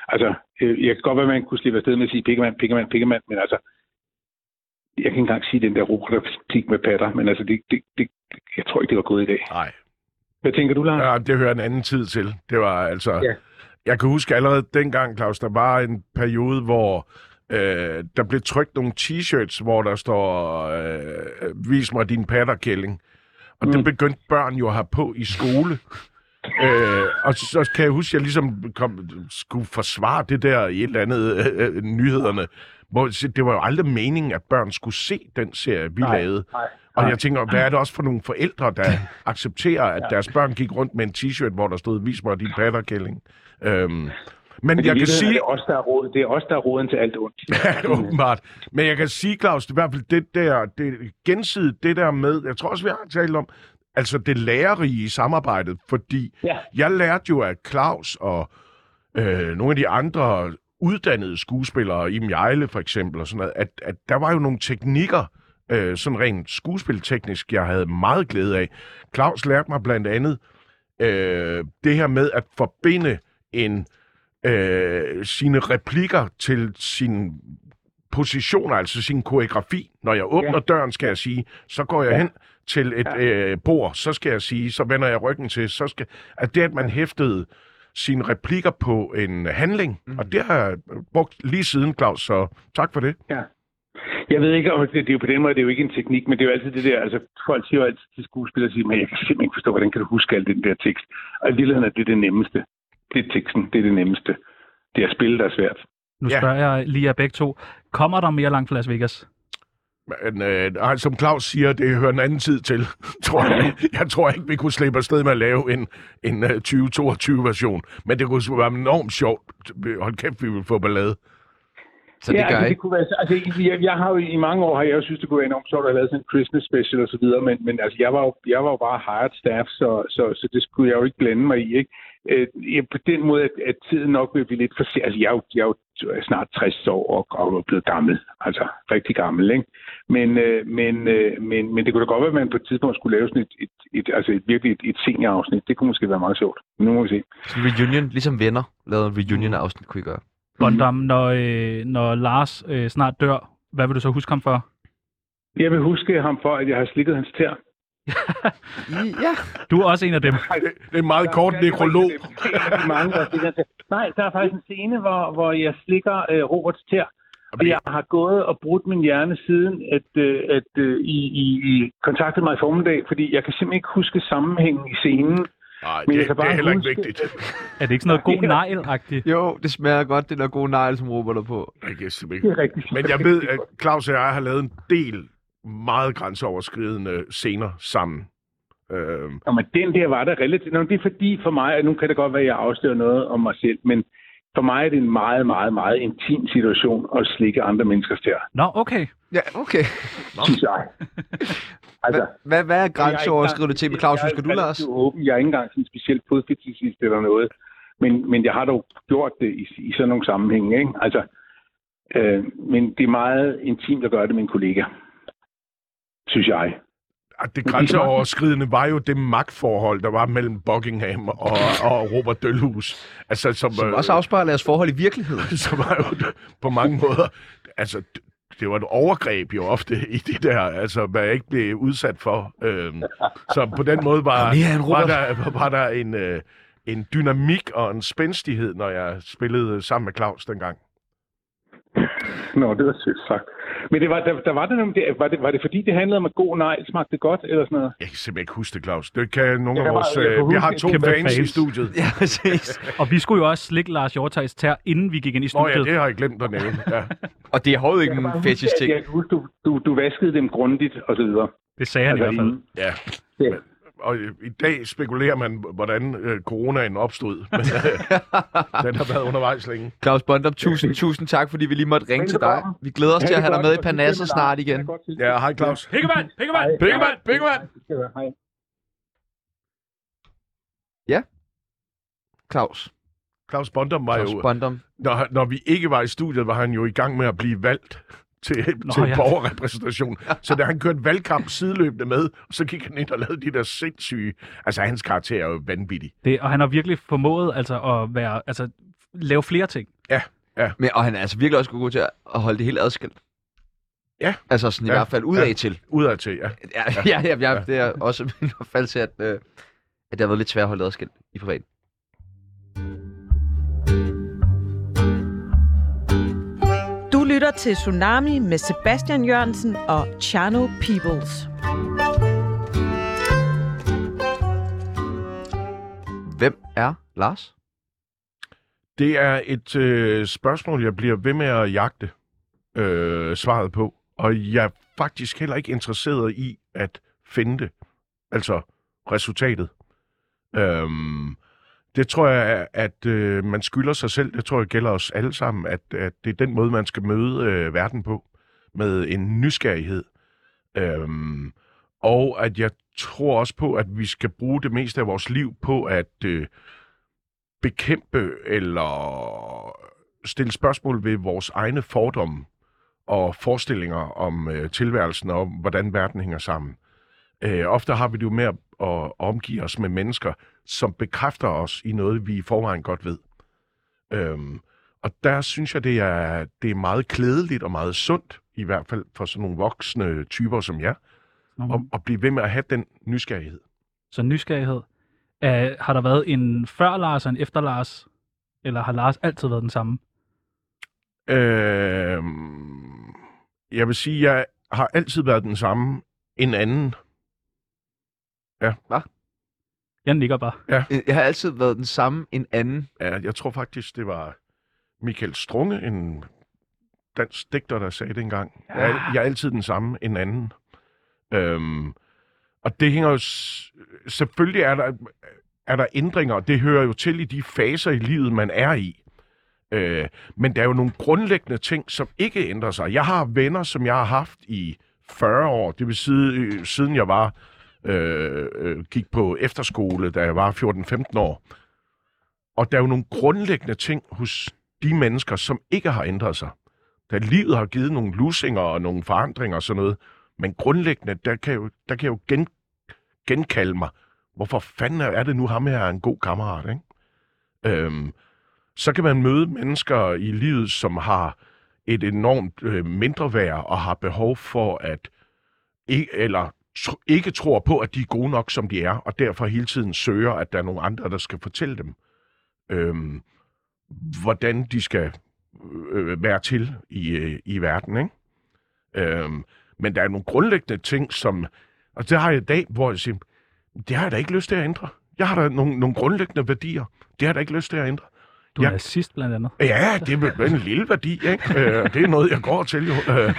Speaker 7: Altså, øh, jeg kan godt være, at man kunne slippe afsted med at sige pikkemand, pikkemand, pikkemand, men altså, jeg kan ikke engang sige den der rokotik med patter, men altså, det, det, det, jeg tror ikke, det var gået i dag.
Speaker 3: Nej.
Speaker 7: Hvad tænker du, Lars?
Speaker 3: Ja, det hører en anden tid til. Det var altså... Ja.
Speaker 7: Ja.
Speaker 3: Jeg kan huske allerede dengang, Claus, der var en periode, hvor øh, der blev trykt nogle t-shirts, hvor der står, øh, vis mig din patterkælling. Og mm. det begyndte børn jo at have på i <laughs> skole. Øh, og så kan jeg huske, at jeg ligesom kom, skulle forsvare det der i et eller andet øh, øh, nyhederne. Hvor jeg siger, det var jo aldrig meningen, at børn skulle se den serie, vi nej, lavede. Nej, og jeg tænker, hvad er det også for nogle forældre, der accepterer, at ja. deres børn gik rundt med en t-shirt, hvor der stod, vis mig din patterkælling. Øhm, men jeg
Speaker 7: Men i
Speaker 3: kan
Speaker 7: virkeligheden
Speaker 3: sige,
Speaker 7: Er det, os, der er roden, det er os, der er roden til alt ondt.
Speaker 3: <laughs>
Speaker 7: <laughs>
Speaker 3: Ja, åbenbart. Men jeg kan sige, Claus, det er i hvert fald det der, det gensidigt, det der med, jeg tror også, vi har talt om, altså det lærerige i samarbejdet, fordi ja.
Speaker 7: Ja.
Speaker 3: jeg lærte jo, at Claus og øh, nogle af de andre uddannede skuespillere, Iben Jejle for eksempel, og sådan noget, at, at der var jo nogle teknikker, øh, sådan rent skuespilteknisk, jeg havde meget glæde af. Claus lærte mig blandt andet øh, det her med at forbinde en øh, sine replikker til sin positioner, altså sin koreografi. Når jeg åbner ja. døren, skal jeg sige, så går jeg ja. hen til et ja. øh, bord, så skal jeg sige, så vender jeg ryggen til, så skal... At det, at man hæftede sine replikker på en handling, mm. og det har jeg brugt lige siden, Claus, så tak for det.
Speaker 7: Ja. Jeg ved ikke, om det, det er jo på den måde, det er jo ikke en teknik, men det er jo altid det der, altså folk siger jo altid til skuespillere, siger, men jeg kan simpelthen ikke forstå, hvordan kan du huske alt den der tekst? Og i virkeligheden er det det nemmeste. Det er teksten, det er det nemmeste. Det er at spille, der er svært.
Speaker 4: Nu
Speaker 3: Ja.
Speaker 4: spørger jeg lige jer begge to. Kommer der mere langt fra Las Vegas?
Speaker 3: Men, øh, ej, som Claus siger, det hører en anden tid til, <laughs> tror jeg. Jeg tror ikke, vi kunne slippe afsted med at lave en, en øh, 2022-version. Men det kunne sgu være enormt sjovt. Hold kæft, vi ville få ballade.
Speaker 1: Så det
Speaker 7: ja,
Speaker 1: gør
Speaker 7: altså,
Speaker 1: jeg
Speaker 7: det
Speaker 1: ikke.
Speaker 7: kunne være, altså, jeg, jeg, har jo i mange år, har jeg jo synes, det kunne være enormt sjovt at have lavet sådan en Christmas special og så videre, men, men altså, jeg var jo, jeg var jo bare hired staff, så, så, så det skulle jeg jo ikke blande mig i, ikke? Øh, jeg, på den måde, at, at tiden nok vil blive lidt for sen. Altså, jeg er jo, jeg er jo snart 60 år og, og er blevet gammel, altså rigtig gammel, ikke? Men, øh, men, øh, men, men det kunne da godt være, at man på et tidspunkt skulle lave sådan et, et, et altså et, virkelig et, et seniorafsnit. Det kunne måske være meget sjovt. Nu må vi se.
Speaker 1: Sådan en reunion, ligesom venner, lavede en reunion-afsnit, kunne I gøre.
Speaker 4: Bondam,
Speaker 3: Mm.
Speaker 4: når, øh, når Lars øh, snart dør, hvad vil du så huske ham for?
Speaker 7: Jeg vil huske ham for, at jeg har slikket hans tær.
Speaker 1: Ja.
Speaker 4: Du er også en af
Speaker 3: <laughs>
Speaker 4: dem.
Speaker 3: Det, det er en meget kort nekrolog.
Speaker 7: mange, der stikker til. Nej, der er faktisk en scene, hvor, hvor jeg slikker øh, Roberts tær. Og jeg har gået og brudt min hjerne siden, at, øh, at øh, I, I, I kontaktede mig i formiddag, fordi jeg kan simpelthen ikke huske sammenhængen i scenen.
Speaker 3: Nej,
Speaker 7: Men jeg
Speaker 3: det,
Speaker 7: kan
Speaker 3: det er
Speaker 7: bare
Speaker 3: heller ikke
Speaker 7: huske-
Speaker 3: vigtigt.
Speaker 4: Er det ikke sådan noget god nejl-agtigt?
Speaker 1: Jo, det smager godt, det der gode negl, som Robert er på.
Speaker 3: Jeg kan simpelthen
Speaker 7: Det
Speaker 3: ikke-
Speaker 7: er rigtigt.
Speaker 3: Men jeg ved, at Claus og jeg har lavet en del meget grænseoverskridende scener sammen. Øhm,
Speaker 7: Nå, men den der var der relativt... Nå, men det er fordi for mig, at nu kan det godt være, at jeg afslører noget om mig selv, men for mig er det en meget, meget, meget intim situation at slikke andre menneskers tær,
Speaker 4: Nå, okay.
Speaker 1: Ja, okay.
Speaker 7: synes <laughs> jeg. Altså,
Speaker 1: Hvad, hvad er
Speaker 7: Jeg er ikke
Speaker 1: grænseoverskridende
Speaker 7: engang-
Speaker 1: til med Claus?
Speaker 7: jeg er
Speaker 1: Husker du, Lars?
Speaker 7: relativt Åben. Jeg er ikke engang sådan specielt fodfetisist eller noget. Men, men jeg har dog gjort det i, i sådan nogle sammenhænge. Ikke? Altså, øh, men det er meget intimt at gøre det med en kollega. Synes jeg.
Speaker 3: at det grænseoverskridende var jo det magtforhold, der var mellem Buckingham og, og Robert Dølhus. Altså, som,
Speaker 1: Som også afspejler jeres forhold i virkeligheden.
Speaker 7: <laughs>
Speaker 3: <laughs> som var jo på mange måder... Altså, d- det var et overgreb jo ofte i det der, altså, hvad jeg ikke blev udsat for. Øhm, så på den måde var,
Speaker 1: Kom her, en
Speaker 3: var,
Speaker 1: Robert.
Speaker 3: der, var der en, øh, en dynamik og en spændstighed, når jeg spillede sammen med Claus dengang.
Speaker 7: Nå, det var sødt sagt. Men det var, der, der var, det, nemlig det, var, det, var det fordi, det handlede om, at god nej smagte det godt, eller sådan noget?
Speaker 3: Jeg kan simpelthen ikke huske det, Claus. Det kan nogle
Speaker 7: Jeg
Speaker 3: af
Speaker 7: kan
Speaker 3: vores...
Speaker 7: bare- jeg kan
Speaker 3: Øh, vi
Speaker 7: huske
Speaker 3: har
Speaker 7: et
Speaker 3: to
Speaker 4: kæmpe
Speaker 3: fans i
Speaker 4: fans.
Speaker 3: studiet.
Speaker 1: Ja, præcis.
Speaker 4: Og vi skulle jo også slikke Lars Hjortøjs tær, inden vi gik ind i
Speaker 3: Nå ja,
Speaker 4: studiet.
Speaker 3: det har jeg glemt at nævne. Ja.
Speaker 1: Og det er overhovedet ikke
Speaker 7: Jeg kan
Speaker 1: en
Speaker 7: huske,
Speaker 1: fetish
Speaker 7: at
Speaker 1: ting.
Speaker 7: Jeg kan huske, du, du, du vaskede dem grundigt, og så videre.
Speaker 4: det sagde han i hvert fald.
Speaker 7: Altså, inden.
Speaker 3: ja.
Speaker 7: Ja.
Speaker 3: Men- og øh, i dag spekulerer man, hvordan øh, coronaen opstod.
Speaker 1: <laughs>
Speaker 3: Men, øh, den har været undervejs længe.
Speaker 1: Claus Bondum, tusind, tusind tak, fordi vi lige måtte ringe til dig. Vi glæder os til at have dig med i Parnasset snart igen.
Speaker 3: Ja, hej Claus.
Speaker 4: Pikkemand! Pikkemand!
Speaker 3: Pikkemand! Pikkemand!
Speaker 7: Hej.
Speaker 1: Claus,
Speaker 3: Claus Bondum var
Speaker 1: Claus
Speaker 3: jo...
Speaker 1: Bondum.
Speaker 3: når, når vi ikke var i studiet, var han jo i gang med at blive valgt til, Nå,
Speaker 4: Nå,
Speaker 3: til
Speaker 4: ja.
Speaker 3: ja. borgerrepræsentation. Så da han kørte valgkamp sideløbende med, så gik han ind og lavede de der sindssyge... Altså, hans karakter er jo vanvittig.
Speaker 4: Det, og han har virkelig formået altså, at være, altså, lave flere ting.
Speaker 1: Men, og han er altså virkelig også god til at holde det helt adskilt.
Speaker 3: Ja.
Speaker 1: Altså sådan i
Speaker 3: Ja,
Speaker 1: hvert fald udad til.
Speaker 3: Udadtil, ja.
Speaker 1: Ja, <laughs> ja, ja, ja, det er også min opfattelse, at, øh, at det har været lidt svært at holde det adskilt i privat.
Speaker 5: Du lytter til Tsunami med Sebastian Jørgensen og Chano Peoples.
Speaker 1: Hvem er Lars?
Speaker 3: Det er et øh, spørgsmål, jeg bliver ved med at jagte øh, svaret på. Og jeg er faktisk heller ikke interesseret i at finde det. Altså resultatet. Øhm, det tror jeg, at øh, man skylder sig selv. Det tror jeg gælder os alle sammen, at, at det er den måde, man skal møde øh, verden på. Med en nysgerrighed. Øhm, og at jeg tror også på, at vi skal bruge det meste af vores liv på at... Øh, bekæmpe eller stille spørgsmål ved vores egne fordomme og forestillinger om øh, tilværelsen og om, hvordan verden hænger sammen. Øh, ofte har vi det jo med at, at omgive os med mennesker, som bekræfter os i noget, vi i forvejen godt ved. Øhm, og der synes jeg, det er, det er meget klædeligt og meget sundt, i hvert fald for sådan nogle voksne typer som jer,
Speaker 4: Nå,
Speaker 3: at, at blive ved med at have den nysgerrighed.
Speaker 4: Så nysgerrighed. Uh, har der været en før Lars og en efter Lars? Eller har Lars altid været den samme?
Speaker 3: Øh, jeg vil sige, jeg har altid været den samme. En anden.
Speaker 4: Jeg nikker bare.
Speaker 1: Øh, Jeg har altid været den samme en anden.
Speaker 3: Ja, Jeg tror faktisk, det var Michael Strunge, en dansk digter, der sagde det engang. Ja. Jeg, er- jeg er altid den samme. En anden. Øhm, og det hænger jo... s- Selvfølgelig er der, er der ændringer, og det hører jo til i de faser i livet, man er i. Øh, men der er jo nogle grundlæggende ting, som ikke ændrer sig. Jeg har venner, som jeg har haft i 40 år, det vil sige, øh, siden jeg var øh, øh, gik på efterskole, da jeg var 14-15 år. Og der er jo nogle grundlæggende ting hos de mennesker, som ikke har ændret sig. Da livet har givet nogle lusinger og nogle forandringer og sådan noget, men grundlæggende, der kan jeg jo, der kan jeg jo gen, genkalde mig. Hvorfor fanden er det nu, ham her er en god kammerat, ikke? Øhm, så kan man møde mennesker i livet, som har et enormt øh, mindre værd og har behov for at ikke, eller tr- ikke tror på, at de er gode nok, som de er, og derfor hele tiden søger, at der er nogle andre, der skal fortælle dem, øhm, hvordan de skal øh, være til i, øh, i verden. Ikke? Øhm, men der er nogle grundlæggende ting, som... Og det har jeg i dag, hvor jeg siger, det har jeg da ikke lyst til at ændre. Jeg har da nogle, nogle grundlæggende værdier. Det har jeg da ikke lyst til at ændre.
Speaker 4: Du er
Speaker 3: Jeg-
Speaker 4: nazist blandt andet.
Speaker 3: Ja, det er vel en lille værdi, ikke? Øh, det er noget, jeg går til jo. Øh,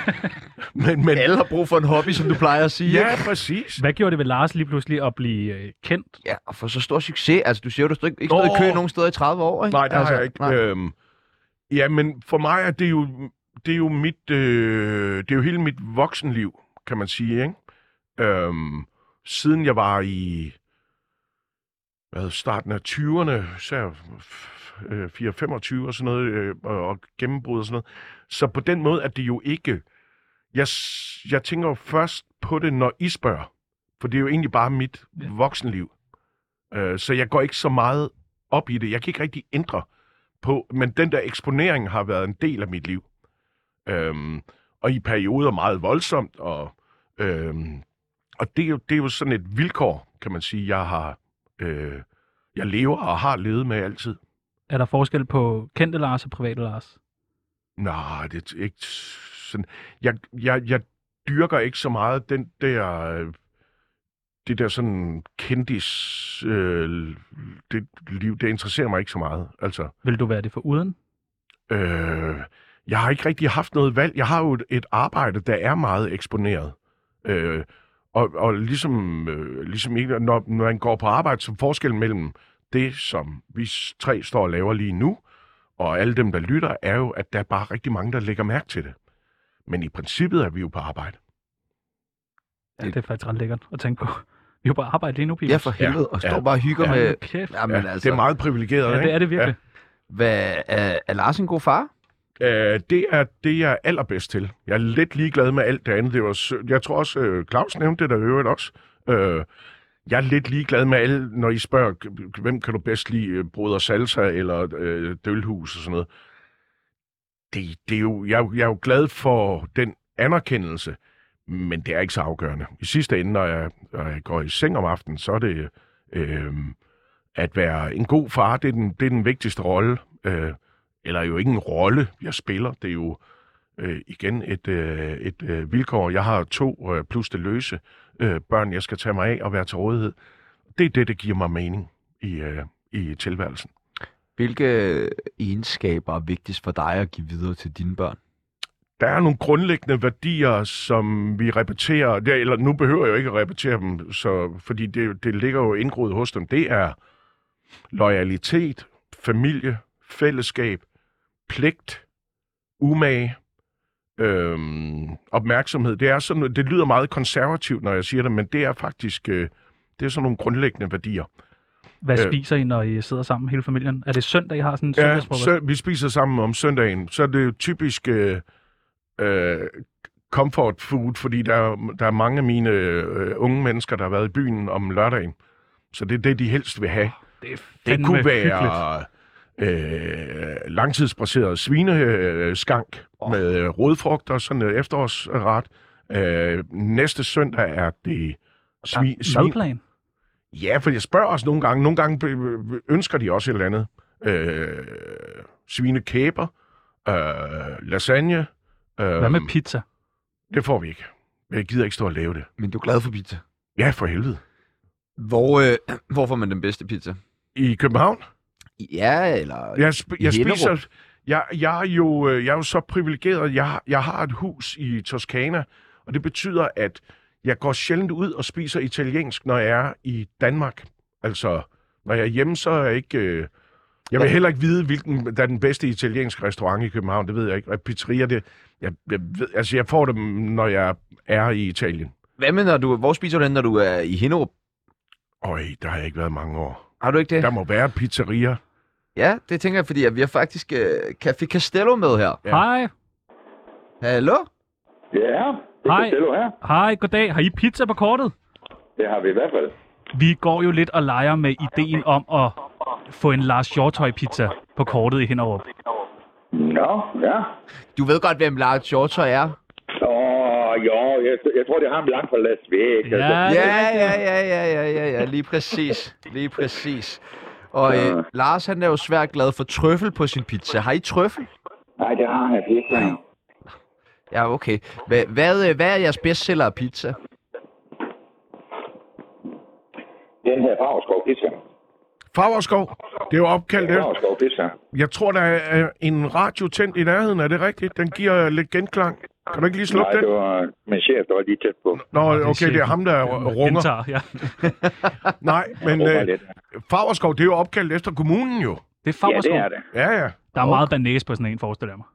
Speaker 3: men, men,
Speaker 1: Alle har brug for en hobby, som du plejer at sige.
Speaker 3: ja,
Speaker 1: ikke?
Speaker 3: præcis.
Speaker 4: Hvad gjorde det ved Lars lige pludselig at blive øh, kendt?
Speaker 1: ja, og for så stor succes. Altså, du siger jo, du har ikke, ikke stået i
Speaker 3: Nå.
Speaker 1: kø nogen steder i 30 år, ikke?
Speaker 3: Nej, det
Speaker 1: altså,
Speaker 3: har jeg ikke. Øhm, ja, men for mig er det jo, det er jo mit, øh, det er jo hele mit voksenliv, kan man sige, ikke? Øhm, siden jeg var i hvad, starten af 20'erne, så er jeg f- øh, 4-25 og sådan noget, øh, og, og gennembrud og sådan noget. Så på den måde er det jo ikke... Jeg, s- jeg tænker jo først på det, når I spørger. For det er jo egentlig bare mit
Speaker 4: Ja.
Speaker 3: voksenliv. Øh, så jeg går ikke så meget op i det. Jeg kan ikke rigtig ændre på, men den der eksponering har været en del af mit liv. Øhm, og i perioder meget voldsomt, og, øhm, og det, er jo, det er jo sådan et vilkår, kan man sige, jeg har, øh, jeg lever og har levet med altid.
Speaker 4: Er der forskel på kendte Lars og private Lars?
Speaker 3: Nej, det er ikke sådan. Jeg, jeg, jeg dyrker ikke så meget den der, øh, det der sådan kendis, øh, det liv, det interesserer mig ikke så meget. Altså,
Speaker 4: Vil du være det for uden?
Speaker 3: Øh, jeg har ikke rigtig haft noget valg. Jeg har jo et, et arbejde, der er meget eksponeret. Øh, Og, og ligesom, øh, ligesom ikke, når, når man går på arbejde, så forskellen mellem det, som vi s- tre står og laver lige nu, og alle dem, der lytter, er jo, at der er bare rigtig mange, der lægger mærke til det. Men i princippet er vi jo på arbejde.
Speaker 4: Ja, det er faktisk ret lækkert at tænke på. Vi er jo på arbejde lige nu, Pibus.
Speaker 1: Ja, for helvede. Og
Speaker 3: Ja.
Speaker 1: står bare og hygger
Speaker 4: Ja,
Speaker 1: med...
Speaker 4: kæft.
Speaker 1: Jamen
Speaker 3: ja,
Speaker 1: altså,
Speaker 3: Det er meget privilegeret,
Speaker 4: Ja,
Speaker 3: ikke?
Speaker 4: det er det virkelig.
Speaker 1: hvad, er, er Lars en god far?
Speaker 3: Øh, det er det, jeg er allerbedst til. Jeg er lidt ligeglad med alt det andet. Det var, sø- jeg tror også, øh, Claus nævnte det der i øvrigt også. Øh, jeg er lidt ligeglad med alle, når I spørger, k- hvem kan du bedst lide, øh, Broder Salsa eller øh, Dølhus og sådan noget. Det, det er jo, jeg, er jo- jeg er jo glad for den anerkendelse, men det er ikke så afgørende. I sidste ende, når jeg, når jeg går i seng om aftenen, så er det øh, at være en god far, det er den, det er den vigtigste rolle. Øh, eller jo ikke en rolle, jeg spiller. Det er jo øh, igen et, øh, et øh, vilkår. Jeg har to øh, plus det løse øh, børn, jeg skal tage mig af og være til rådighed. Det er det, der giver mig mening i, øh, i tilværelsen.
Speaker 1: Hvilke egenskaber er vigtigst for dig at give videre til dine børn?
Speaker 3: Der er nogle grundlæggende værdier, som vi repeterer, ja, eller nu behøver jeg jo ikke at repetere dem, så, fordi det, det ligger jo indgroet hos dem. Det er loyalitet, familie, fællesskab, pligt, umage, øhm, opmærksomhed. Det, er sådan, det lyder meget konservativt, når jeg siger det, men det er faktisk øh, det er sådan nogle grundlæggende værdier.
Speaker 4: Hvad
Speaker 3: Øh.
Speaker 4: spiser I, når I sidder sammen hele familien? Er det søndag, I har sådan en
Speaker 3: Ja,
Speaker 4: søndagsfrokost?
Speaker 3: sø- vi spiser sammen om søndagen. Så er det jo typisk øh, øh, comfort food, fordi der, er- der er mange af mine øh, unge mennesker, der har været i byen om lørdagen. Så det er det, de helst vil have.
Speaker 4: Det, er
Speaker 3: Det
Speaker 4: fandme
Speaker 3: kunne
Speaker 4: hyggeligt.
Speaker 3: være øh, langtidsbaseret svineskank oh. med øh, rødfrugter, sådan noget efterårsret. Øh, næste søndag er det svin, svin,
Speaker 4: Madplan?
Speaker 3: Ja, for jeg spørger også nogle gange. Nogle gange be- be- ønsker de også et eller andet. Øh, svinekæber, øh, lasagne. Øh,
Speaker 4: Hvad med pizza?
Speaker 3: Det får vi ikke. Jeg gider ikke stå og lave det.
Speaker 1: Men du er glad for pizza.
Speaker 3: Ja, for helvede.
Speaker 1: Hvor, øh, <clears throat> hvor får man den bedste pizza?
Speaker 3: I København?
Speaker 1: Ja, eller...
Speaker 3: Jeg, sp- jeg
Speaker 1: Hellerup.
Speaker 3: spiser... Jeg, jeg, er jo, øh, jeg er jo så privilegeret. Jeg, har- jeg har et hus i Toskana, og det betyder, at jeg går sjældent ud og spiser italiensk, når jeg er i Danmark. Altså, når jeg er hjemme, så er jeg ikke... Øh, jeg vil
Speaker 1: Ja.
Speaker 3: heller ikke vide, hvilken der er den bedste italienske restaurant i København. Det ved jeg ikke. Og pizzeria, det... Jeg, jeg ved, altså, jeg får dem, når jeg er i Italien.
Speaker 1: Hvad med, når du... Hvor spiser du den, når du er i Hinderup?
Speaker 3: Øj, der har jeg ikke været mange år.
Speaker 1: Har du ikke det?
Speaker 3: Der må være pizzerier.
Speaker 1: Ja, det tænker jeg, fordi at vi har faktisk øh, Café Castello med her.
Speaker 3: Ja.
Speaker 4: Hej,
Speaker 1: Hallo?
Speaker 8: Ja, det
Speaker 4: Hej.
Speaker 8: er Costello her.
Speaker 4: hej, goddag. Har I pizza på kortet?
Speaker 8: Det har vi i hvert fald.
Speaker 4: Vi går jo lidt og leger med ideen om at få en Lars Hjortøj-pizza på kortet i Hinderup.
Speaker 8: Nå, ja.
Speaker 1: Du ved godt, hvem Lars Shortøj er.
Speaker 8: Åh, jo, jeg, jeg tror, det er ham langt fra Las Vegas.
Speaker 4: Ja,
Speaker 1: Ja, ja, ja, ja, ja, ja, ja, lige præcis. Lige præcis. Og øh, Lars, han er jo svært glad for trøffel på sin pizza. Har I trøffel?
Speaker 8: Nej, det har han ikke.
Speaker 1: Ja, okay. Hvad, hvad, øh, hvad er jeres bestseller af pizza?
Speaker 8: Den her Favreskov Pizza.
Speaker 3: Favreskov, det er jo opkaldt efter.
Speaker 8: Favreskov Pizza.
Speaker 3: Jeg tror, der er øh, en radio tændt i nærheden. Er det rigtigt? Den giver lidt genklang. Kan du ikke lige slukke
Speaker 8: Nej, det
Speaker 3: den?
Speaker 8: var min chef, der var lige tæt på.
Speaker 3: Nå,
Speaker 4: er
Speaker 3: okay, det er
Speaker 4: chefen.
Speaker 3: ham, der r- runger.
Speaker 4: Gentager, ja.
Speaker 3: Nej, men
Speaker 8: Råber
Speaker 3: øh,
Speaker 8: lidt.
Speaker 3: Favreskov, det er jo opkaldt efter kommunen jo.
Speaker 4: Det er
Speaker 8: Ja,
Speaker 4: Favreskov.
Speaker 8: det er det.
Speaker 3: Ja, ja.
Speaker 4: Der er meget banæs på sådan en, forestiller jeg mig.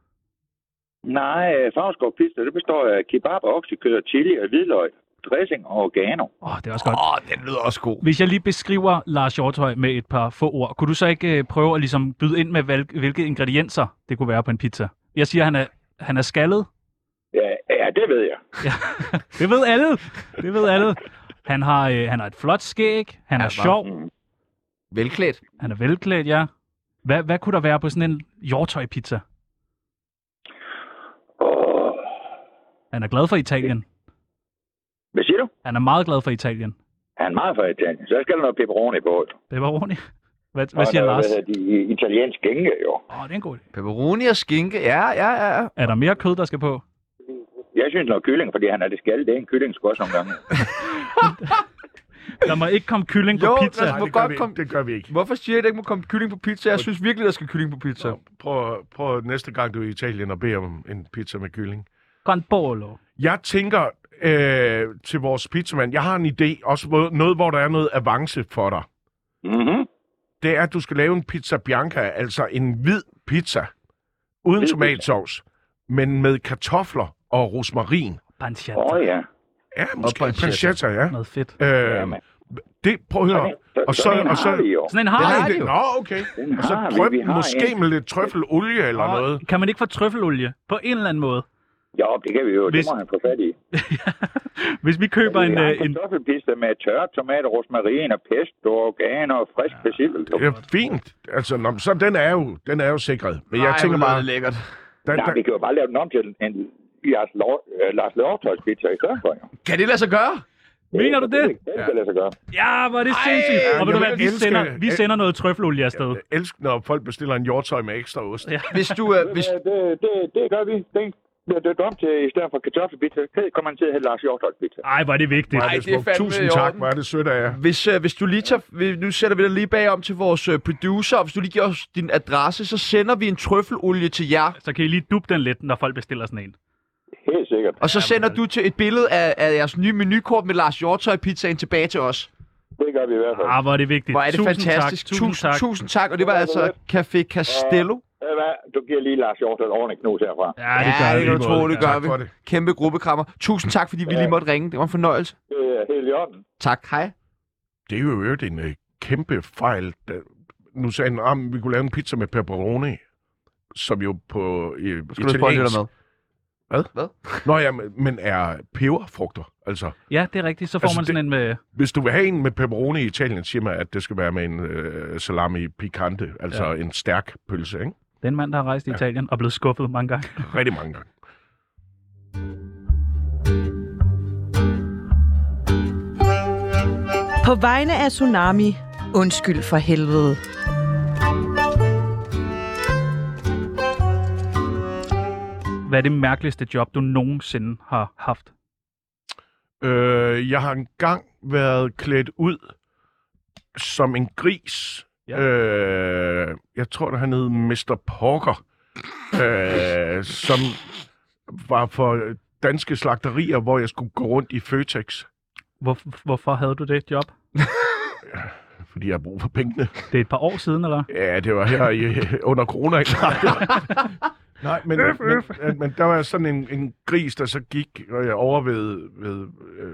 Speaker 8: Nej, Favreskov Pizza, det består af kebab, oksekød, chili og hvidløg, dressing og oregano.
Speaker 4: Åh, oh, det er også godt.
Speaker 1: Åh, oh, den lyder også god.
Speaker 4: Hvis jeg lige beskriver Lars Hjortøj med et par få ord, kunne du så ikke øh, prøve at ligesom byde ind med, hval- hvilke ingredienser det kunne være på en pizza? Jeg siger, han er, han er skaldet.
Speaker 8: Ja, ja, det ved jeg.
Speaker 4: Ja. det ved alle. Det ved alle. Han har, øh, han har et flot skæg. Han er sjov.
Speaker 1: Velklædt.
Speaker 4: Han er velklædt, ja. Hvad, hvad kunne der være på sådan en Hjortøj-pizza?
Speaker 8: Åh,
Speaker 4: Han er glad for Italien.
Speaker 8: hvad siger du?
Speaker 4: Han er meget glad for Italien.
Speaker 8: Han er meget fra Italien, så skal der noget pepperoni på.
Speaker 4: Det var roligt. Hvad, hvad siger
Speaker 8: Og der er,
Speaker 4: Lars?
Speaker 8: Hvad hedder de? Italiensk gænge, jo.
Speaker 4: Åh, oh, det er en god idé.
Speaker 1: Pepperoni og skinke. Ja, ja, ja. ja.
Speaker 4: Er der mere kød, der skal på?
Speaker 8: Jeg synes noget kylling, fordi han er det skaldet. Det er en kylling sgu også nogle
Speaker 3: <laughs>
Speaker 8: gange.
Speaker 4: Der må ikke komme kylling på
Speaker 1: Jo,
Speaker 4: pizza.
Speaker 1: men-
Speaker 3: Nej,
Speaker 1: Må
Speaker 3: det gør,
Speaker 1: Altså, godt
Speaker 3: vi,
Speaker 1: komme-
Speaker 3: ikke. det gør vi ikke.
Speaker 1: Hvorfor siger I, at der ikke må komme kylling på pizza? Jeg synes virkelig, der skal kylling på pizza.
Speaker 3: Prøv, prøv næste gang, du er i Italien og beder om en pizza med kylling.
Speaker 4: Gran Bolo.
Speaker 3: Jeg tænker, øh, til vores pizzamand. Jeg har en idé, også hvor- noget, hvor der er noget avance for dig.
Speaker 8: Mm-hmm.
Speaker 3: Det er, at du skal lave en pizza bianca, altså en hvid pizza, uden
Speaker 8: Hvid
Speaker 3: tomatsovs, men med kartofler og rosmarin.
Speaker 4: Pancetta.
Speaker 8: Åh oh, ja.
Speaker 3: Ja, måske en
Speaker 1: pancetta.
Speaker 3: pancetta, ja.
Speaker 4: Noget fedt.
Speaker 3: Øh,
Speaker 8: Jamen.
Speaker 3: det, prøv at høre. Og så,
Speaker 8: sådan en
Speaker 3: og
Speaker 8: har vi
Speaker 3: så,
Speaker 8: jo.
Speaker 4: Sådan en har
Speaker 3: Nej,
Speaker 4: jeg
Speaker 3: det,
Speaker 4: jo.
Speaker 3: nå, okay.
Speaker 8: Den
Speaker 3: Og så
Speaker 8: har vi.
Speaker 3: drøb
Speaker 8: Vi har
Speaker 3: måske
Speaker 8: en.
Speaker 3: med lidt trøffelolie eller
Speaker 4: Og
Speaker 3: noget.
Speaker 4: Kan man ikke få trøffelolie? På en eller anden måde.
Speaker 8: Jo, det kan vi jo.
Speaker 4: Hvis-
Speaker 8: Det må han få fat i.
Speaker 4: Hvis vi køber en...
Speaker 8: Vi har
Speaker 4: øh,
Speaker 8: en
Speaker 4: en
Speaker 8: kartoffelpista med tørre tomater, rosmarin og pesto, organer og frisk persille.
Speaker 3: Det er fint. Altså, nå, men så den er jo, den er jo sikret. Men jeg tænker
Speaker 1: meget
Speaker 3: bare,
Speaker 1: lækkert.
Speaker 3: der,
Speaker 8: Nej, vi
Speaker 3: der,
Speaker 8: kan jo bare lave den om til en Lars, Lov, øh, Lars Lovtøjs pizza i stedet for. Jo.
Speaker 1: Kan det lade sig gøre?
Speaker 4: Mener du det?
Speaker 8: Det kan lade sig gøre.
Speaker 4: Ja, hvor er det sindssygt.
Speaker 3: ja,
Speaker 4: Og ved du
Speaker 3: jeg
Speaker 4: hvad, vi
Speaker 3: elsker-
Speaker 4: sender, vi
Speaker 3: jeg-
Speaker 4: sender noget trøffelolie afsted.
Speaker 3: jeg elsker, Øh, når folk bestiller en hjortøj med ekstra ost.
Speaker 4: Ja.
Speaker 1: Hvis du... Øh, hvis,
Speaker 8: Ja, det, det, det gør vi. Det bliver døbt om til, i stedet for kartoffelpizza, det kommer man til at hedde Lars Hjortøjs pizza.
Speaker 4: Ej, hvor er det vigtigt.
Speaker 1: Ej,
Speaker 3: det er
Speaker 1: det er
Speaker 3: smukt.
Speaker 1: fandme i
Speaker 3: Tusind tak,
Speaker 1: orden.
Speaker 3: hvor er det sødt af jer.
Speaker 1: Hvis, øh, hvis du lige tager, vi- nu sætter vi dig lige bagom til vores øh, producer, og hvis du lige giver os din adresse, så sender vi en trøffelolie til jer,
Speaker 4: Så kan I lige dubbe den lidt, når folk bestiller sådan en.
Speaker 8: Helt sikkert.
Speaker 1: og så sender du til et billede af, af jeres nye menukort med Lars Hjortøj pizzaen tilbage til os.
Speaker 8: Det gør vi i hvert fald.
Speaker 4: Ah, hvor er det vigtigt.
Speaker 1: Hvor er det
Speaker 4: tusind
Speaker 1: fantastisk.
Speaker 4: Tak, tusind tak.
Speaker 1: tusind tak. Og det var altså Café Castello.
Speaker 8: Ved du hvad? Du giver lige Lars Hjortøj et ordentligt knus herfra.
Speaker 4: Ja, det gør
Speaker 1: det kan
Speaker 4: vi.
Speaker 1: du tro, det gør
Speaker 3: Tak for
Speaker 1: vi.
Speaker 3: det.
Speaker 1: Kæmpe gruppekrammer. Tusind tak, fordi vi lige måtte ringe. Det var en fornøjelse.
Speaker 8: Det er helt i orden.
Speaker 1: Tak. Hej.
Speaker 3: Det er jo i øvrigt en øh, kæmpe fejl. Da, nu sagde han, at vi kunne lave en pizza med pepperoni, som jo på øh,
Speaker 1: Skal du spørge
Speaker 3: italiensk...
Speaker 1: lidt med?
Speaker 3: Nå ja, men men er peberfrugter. Altså,
Speaker 4: Ja, det er rigtigt. Så får
Speaker 3: Altså,
Speaker 4: man sådan en øh, med...
Speaker 3: hvis du vil have en med pepperoni i Italien, siger man, at det skal være med en øh, salami picante, altså
Speaker 4: Ja.
Speaker 3: en stærk pølse, ikke?
Speaker 4: Den mand, der har rejst i Italien og blevet skuffet mange gange.
Speaker 3: Rigtig mange gange.
Speaker 5: På vegne af Tsunami, undskyld for helvede.
Speaker 4: Hvad er det mærkeligste job, du nogensinde har haft?
Speaker 3: Øh, jeg har engang været klædt ud som en gris.
Speaker 4: Ja.
Speaker 3: Ja. Øh, jeg tror, der han hed Mr. Porker, øh, som var for danske slagterier, hvor jeg skulle gå rundt i Føtex,
Speaker 4: Hvor, hvorfor havde du det job?
Speaker 3: fordi jeg har brug for pengene.
Speaker 4: Det er et par år siden, eller?
Speaker 3: Ja, det var her i, under
Speaker 4: <laughs>
Speaker 3: corona. Nej, men,
Speaker 4: Øf,
Speaker 3: men,
Speaker 4: øf.
Speaker 3: men, men der var sådan en, en gris, der så gik øh, over ved, ved øh,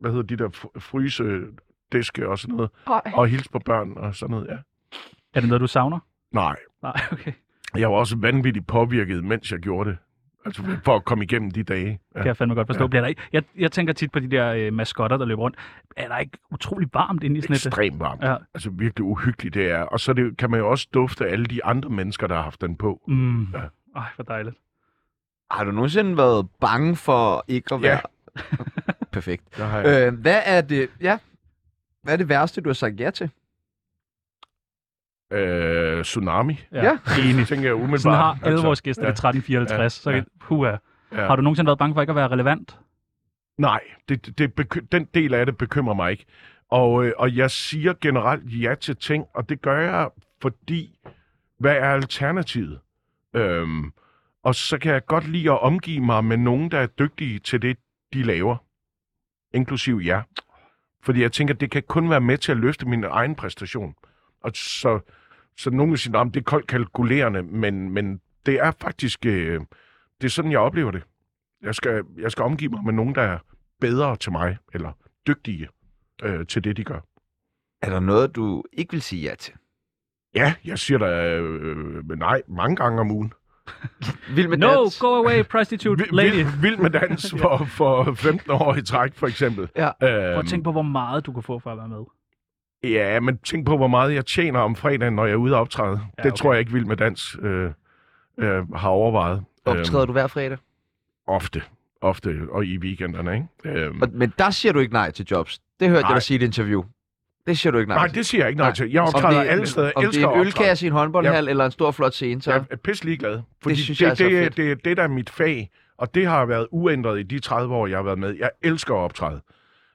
Speaker 3: hvad hedder de der fr- frysediske og sådan noget, og hilste på børn og sådan noget, ja.
Speaker 4: Er det noget, du savner?
Speaker 3: Nej,
Speaker 4: Nej, <laughs> okay.
Speaker 3: jeg var også vanvittigt påvirket, mens jeg gjorde det. Altså for at komme igennem de dage.
Speaker 4: Det
Speaker 3: Ja.
Speaker 4: kan jeg fandme godt forstå.
Speaker 3: Ja.
Speaker 4: Bliver der ikke... jeg, jeg tænker tit på de der øh, maskotter, der løber rundt. Er der ikke utrolig varmt inde i sådan et...
Speaker 3: Ekstremt varmt.
Speaker 4: Ja.
Speaker 3: Altså virkelig uhyggeligt det er. Og så er det, kan man jo også dufte alle de andre mennesker, der har haft den på.
Speaker 4: Mm.
Speaker 3: Ja.
Speaker 4: Ej, hvor dejligt.
Speaker 1: Har du nogensinde været bange for ikke at
Speaker 3: Ja.
Speaker 1: være...
Speaker 3: <laughs>
Speaker 1: Perfekt.
Speaker 3: Der har jeg...
Speaker 1: Øh, hvad er det... Ja. Hvad er det værste, du har sagt ja til?
Speaker 3: øh, tsunami.
Speaker 1: Ja.
Speaker 4: Enig.
Speaker 3: tænker jeg umiddelbart.
Speaker 4: Sådan har alle
Speaker 3: Altså,
Speaker 4: vores gæster
Speaker 3: ja.
Speaker 4: det 1354. Så
Speaker 3: Ja.
Speaker 4: ja. Puha.
Speaker 3: Ja.
Speaker 4: Har du nogensinde været bange for ikke at være relevant?
Speaker 3: Nej, det, det- det, beky- den del af det bekymrer mig ikke. Og, øh, og jeg siger generelt ja til ting, og det gør jeg, fordi hvad er alternativet? Øhm, og så kan jeg godt lide at omgive mig med nogen, der er dygtige til det, de laver. Inklusiv jer. Fordi jeg tænker, det kan kun være med til at løfte min egen præstation. Og så, så nogen vil sige, at det er koldt kalkulerende, men, men det er faktisk, øh, det er sådan, jeg oplever det. Jeg skal, jeg skal omgive mig med nogen, der er bedre til mig, eller dygtige øh, til det, de gør.
Speaker 1: Er der noget, du ikke vil sige ja til?
Speaker 3: Ja, jeg siger da øh, men nej mange gange om ugen.
Speaker 1: Vild med
Speaker 4: No,
Speaker 1: dans.
Speaker 4: go away, prostitute
Speaker 3: Vild,
Speaker 4: lady.
Speaker 3: vild, vild med dans
Speaker 4: <laughs>
Speaker 3: for, for 15 år i træk, for eksempel.
Speaker 1: Ja.
Speaker 4: Prøv at
Speaker 3: Øhm,
Speaker 4: tænke på, hvor meget du kan få for at være med.
Speaker 3: ja, men tænk på, hvor meget jeg tjener om fredagen, når jeg er ude og optræde.
Speaker 4: Ja,
Speaker 3: Ja, det
Speaker 4: okay.
Speaker 3: tror jeg ikke, Vild med dans øh, øh, har overvejet.
Speaker 1: Optræder du hver fredag?
Speaker 3: Ofte. Ofte, og i weekenderne, ikke? Øhm,
Speaker 1: Og- Men der siger du ikke nej til jobs. Det hørte jeg
Speaker 3: Nej.
Speaker 1: dig sige i et interview. Det siger du ikke nej,
Speaker 3: nej,
Speaker 1: til.
Speaker 3: det siger jeg ikke
Speaker 1: Nej.
Speaker 3: nej til. Jeg optræder
Speaker 1: det,
Speaker 3: alle steder. Jeg
Speaker 1: Om det
Speaker 3: elsker
Speaker 1: er
Speaker 3: at
Speaker 1: en
Speaker 3: optræde.
Speaker 1: ølkasse i en håndboldhal eller en stor flot scene, så...
Speaker 3: Jeg er pisse ligeglad. Fordi det,
Speaker 1: synes
Speaker 3: det,
Speaker 1: jeg
Speaker 3: jeg
Speaker 1: altså
Speaker 3: det,
Speaker 1: er
Speaker 3: er
Speaker 1: fedt.
Speaker 3: det, det, er det, der er mit fag, og det har været uændret i de 30 år, jeg har været med. Jeg elsker at optræde.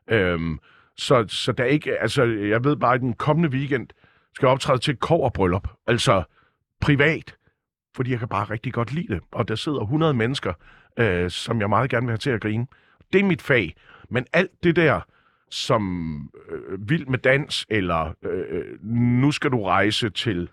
Speaker 3: Øhm, så, så der er ikke, altså, jeg ved bare, at den kommende weekend skal jeg optræde til et koverbryllup. Altså privat. Fordi jeg kan bare rigtig godt lide det. Og der sidder 100 mennesker, øh, som jeg meget gerne vil have til at grine. Det er mit fag. Men alt det der, som øh, vild med dans, eller øh, nu skal du rejse til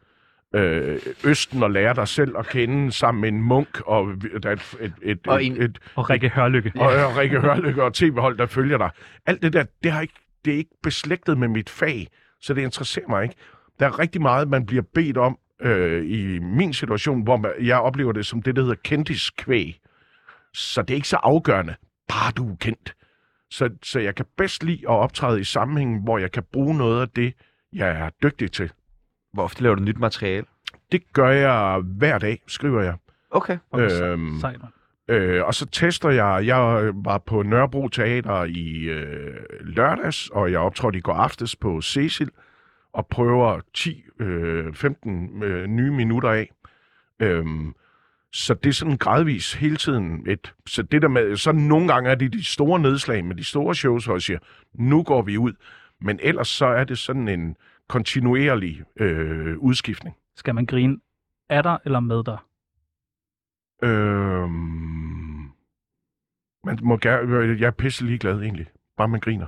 Speaker 3: øh, Østen og lære dig selv at kende sammen med en munk og vi- der er et, et, et,
Speaker 1: Og
Speaker 3: et,
Speaker 1: en-
Speaker 3: et,
Speaker 4: Og Rikke Hørlykke.
Speaker 3: og, og Rikke Hørlykke og tv-hold, der følger dig. Alt det der, det, har ikke, det er ikke beslægtet med mit fag, så det interesserer mig ikke. Der er rigtig meget, man bliver bedt om øh, i min situation, hvor man, jeg oplever det som det, der hedder kendtiskvæg. Så det er ikke så afgørende, bare du er kendt. Så, så jeg kan bedst lide at optræde i sammenhængen, hvor jeg kan bruge noget af det, jeg er dygtig til.
Speaker 1: Hvor ofte laver du nyt materiale?
Speaker 3: Det gør jeg hver dag, skriver jeg.
Speaker 1: Okay.
Speaker 3: Øhm,
Speaker 4: Sejt, mand.
Speaker 3: Øh, og så tester jeg. Jeg var på Nørrebro Teater i øh, lørdags, og jeg optrådte i går aftes på Cecil og prøver 10-15 øh, nye minutter af. Øhm, så det er sådan gradvis hele tiden et... Så det der med... Så nogle gange er det de store nedslag med de store shows, hvor jeg siger, nu går vi ud. Men ellers så er det sådan en kontinuerlig øh, udskiftning.
Speaker 4: Skal man grine af dig eller med dig?
Speaker 3: Øhm, man må gerne, jeg er pisse ligeglad egentlig. Bare man griner.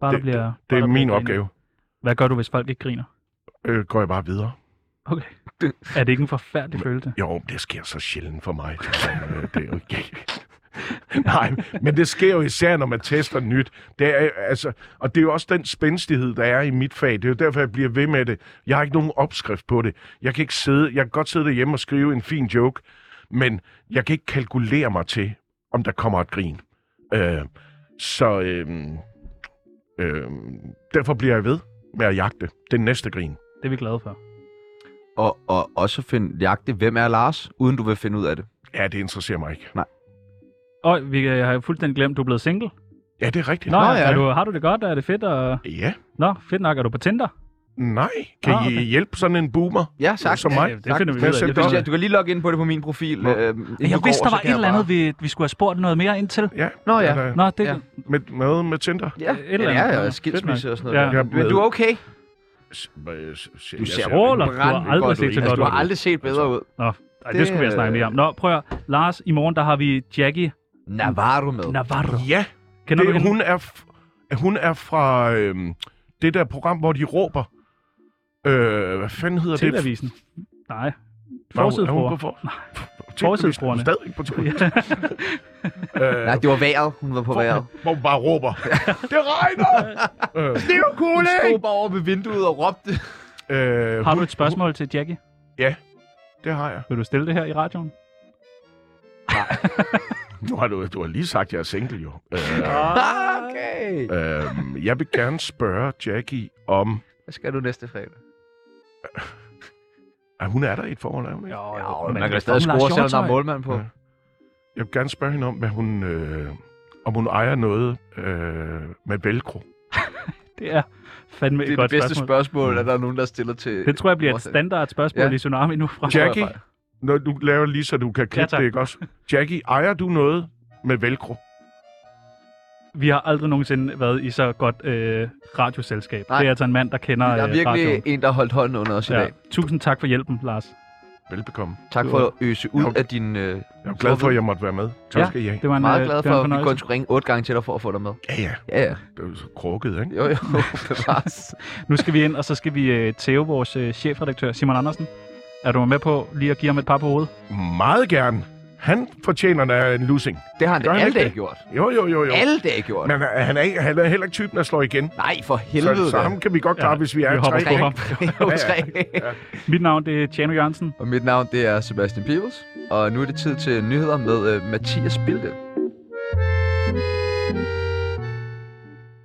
Speaker 4: Bare
Speaker 3: Det-
Speaker 4: der bliver,
Speaker 3: Det
Speaker 4: bare
Speaker 3: er
Speaker 4: der
Speaker 3: min
Speaker 4: bliver grinet.
Speaker 3: opgave.
Speaker 4: Hvad gør du, hvis folk ikke griner?
Speaker 3: Øh, går jeg bare videre.
Speaker 4: Okay. Er det ikke en forfærdelig følelse?
Speaker 3: Jo, det sker så sjældent for mig. Øh, det er jo ikke... <laughs> Nej, men det sker jo især, når man tester nyt. Det er, altså, og det er jo også den spændstighed, der er i mit fag. Det er jo derfor, jeg bliver ved med det. Jeg har ikke nogen opskrift på det. Jeg kan, ikke sidde, jeg kan godt sidde derhjemme og skrive en fin joke, men jeg kan ikke kalkulere mig til, om der kommer et grin. Øh, så øh, øh, derfor bliver jeg ved med at jagte den næste grin.
Speaker 4: Det er vi glade for.
Speaker 1: Og, og også finde, jagte, hvem er Lars, uden du vil finde ud af det.
Speaker 3: Ja, det interesserer mig ikke.
Speaker 4: Og vi, øh, jeg har jo fuldstændig glemt, du er blevet single.
Speaker 3: Ja, det er rigtigt.
Speaker 4: Nå, Nå ja.
Speaker 1: ja.
Speaker 4: Er du, har du det godt? Er det fedt? Og...
Speaker 3: Ja.
Speaker 4: Nå, fedt nok. Er du på Tinder?
Speaker 3: Nej. Kan
Speaker 4: Ah,
Speaker 3: ah,
Speaker 4: okay.
Speaker 3: I hjælpe sådan en boomer?
Speaker 1: Ja, sagt.
Speaker 3: Som mig?
Speaker 4: Ja, det finder vi ud
Speaker 3: Hvad
Speaker 4: af.
Speaker 3: selv
Speaker 4: Det
Speaker 1: Hvis
Speaker 4: finder
Speaker 1: jeg, du kan lige logge ind på det på min profil.
Speaker 3: Nå.
Speaker 1: Øh, inden du går, så kan jeg bare-
Speaker 4: vi, vi skulle have spurgt noget mere ind til.
Speaker 3: Ja.
Speaker 1: Nå ja.
Speaker 3: Eller
Speaker 4: Nå, det,
Speaker 1: Ja.
Speaker 4: ja.
Speaker 3: Med, noget med Tinder?
Speaker 1: Ja,
Speaker 4: Et
Speaker 1: et
Speaker 4: eller
Speaker 1: eller ja,
Speaker 4: andet.
Speaker 1: ja,
Speaker 4: Fedt
Speaker 1: skilsmisse
Speaker 4: nok.
Speaker 1: og sådan
Speaker 4: Ja.
Speaker 1: noget. Ja.
Speaker 3: Jeg
Speaker 1: Men
Speaker 3: blev-
Speaker 1: du er okay.
Speaker 3: S- hvad- s- s-
Speaker 1: Du
Speaker 3: jeg
Speaker 1: ser
Speaker 4: roller.
Speaker 3: rimelig-
Speaker 4: Du har
Speaker 1: Brandgodt
Speaker 4: aldrig
Speaker 1: ud.
Speaker 4: set så
Speaker 1: Altså,
Speaker 4: godt
Speaker 1: Du har
Speaker 4: ud.
Speaker 1: aldrig set bedre ud.
Speaker 4: Nå, ej, det,
Speaker 1: Det-
Speaker 4: det skulle vi have snakket mere om. Nå, prøv at, høre. Lars, i morgen der har vi Jackie
Speaker 1: Navarro med.
Speaker 4: Navarro.
Speaker 3: Ja,
Speaker 4: Kender du
Speaker 3: det,
Speaker 4: hende?
Speaker 3: hun, er f- hun er fra øhm, det der program, hvor de råber. Øh, hvad fanden hedder det?
Speaker 4: Tillavisen? Nej.
Speaker 3: Nå, er hun
Speaker 4: Forsidefruer.
Speaker 3: på for... <laughs>
Speaker 4: Forsidefruerne.
Speaker 3: Stadig på
Speaker 4: <laughs>
Speaker 3: tur.
Speaker 4: Ja.
Speaker 3: Øh,
Speaker 1: Nej, det var vejret. Hun var på vejret.
Speaker 3: hvor hun bare <laughs> råber. det regner! øh, det er jo
Speaker 1: Hun
Speaker 3: cool,
Speaker 1: stod bare over ved vinduet og råbte.
Speaker 3: øh,
Speaker 4: Har du et spørgsmål til Jackie?
Speaker 3: Det har jeg.
Speaker 4: Vil du stille det her i radioen?
Speaker 1: Ah,
Speaker 3: Nu har du, du har lige sagt, at jeg er single, jo. Øh,
Speaker 4: Ah.
Speaker 1: Okay.
Speaker 3: Øhm, jeg vil gerne spørge Jackie om...
Speaker 1: Hvad skal du næste fredag?
Speaker 3: Ah, hun er der i et forhold, er hun ikke?
Speaker 4: Jo,
Speaker 1: Jo, man kan stadig score, selvom der er målmand på.
Speaker 3: Ja. Jeg vil gerne spørge hende om, hvad hun, øh, om hun ejer noget øh, med velcro.
Speaker 4: Det er
Speaker 1: Det
Speaker 4: fandme et
Speaker 1: er det
Speaker 4: godt
Speaker 1: bedste
Speaker 4: spørgsmål.
Speaker 1: spørgsmål, at der er nogen, der stiller til...
Speaker 4: Det tror jeg bliver et
Speaker 1: Årsag.
Speaker 4: standard spørgsmål
Speaker 1: Ja.
Speaker 4: i Tsunami nu fra.
Speaker 1: tror jeg
Speaker 3: Jackie,
Speaker 1: bare.
Speaker 3: når du laver lige, så du kan klippe
Speaker 4: tak.
Speaker 3: det, ikke også? Jackie, ejer du noget med velcro?
Speaker 4: Vi har aldrig nogensinde været i så godt øh, radioselskab.
Speaker 1: Nej.
Speaker 4: Det er altså en mand, der kender
Speaker 1: Der er
Speaker 4: øh, radioen.
Speaker 1: virkelig en, der har holdt hånden under os i dag.
Speaker 4: Tusind tak for hjælpen, Lars.
Speaker 3: Velbekomme.
Speaker 1: Tak for at øse ud
Speaker 3: Jo.
Speaker 1: af din... Øh,
Speaker 3: Jeg er glad for, at jeg måtte være med. Tak skal I have.
Speaker 4: Det var en,
Speaker 1: meget
Speaker 4: øh,
Speaker 1: glad
Speaker 4: det
Speaker 1: for,
Speaker 4: var en
Speaker 1: at vi
Speaker 4: fornøjelse.
Speaker 1: kun skulle ringe otte gange til dig for at få dig med.
Speaker 3: Ja, ja.
Speaker 1: Ja, ja.
Speaker 3: Det er jo så krukket, ikke?
Speaker 1: Jo,
Speaker 3: <laughs>
Speaker 1: jo. Bevares.
Speaker 4: Nu skal vi ind, og så skal vi øh, tæve vores øh, chefredaktør, Simon Andersen. Er du med på lige at give ham et par på hovedet?
Speaker 3: Meget gerne. Han fortjener da en losing.
Speaker 1: Det har han
Speaker 3: Gør
Speaker 1: da
Speaker 3: han
Speaker 1: alle
Speaker 3: ikke
Speaker 1: dage
Speaker 3: det?
Speaker 1: gjort.
Speaker 3: Jo, jo, jo, jo.
Speaker 1: Alle dage gjort.
Speaker 3: Men øh, han er, ikke- han er heller ikke typen, der slår igen.
Speaker 1: Nej, for helvede.
Speaker 3: Så, så ham kan vi godt klare,
Speaker 4: Ja,
Speaker 3: hvis vi er
Speaker 4: vi
Speaker 3: tre.
Speaker 4: hopper på
Speaker 3: ikke?
Speaker 4: ham.
Speaker 3: <laughs>
Speaker 1: Jo, tre.
Speaker 4: Mit navn det er Tjano Jørgensen.
Speaker 1: Og mit navn det er Sebastian Peebles, og nu er det tid til nyheder med øh, Mathias Bilde.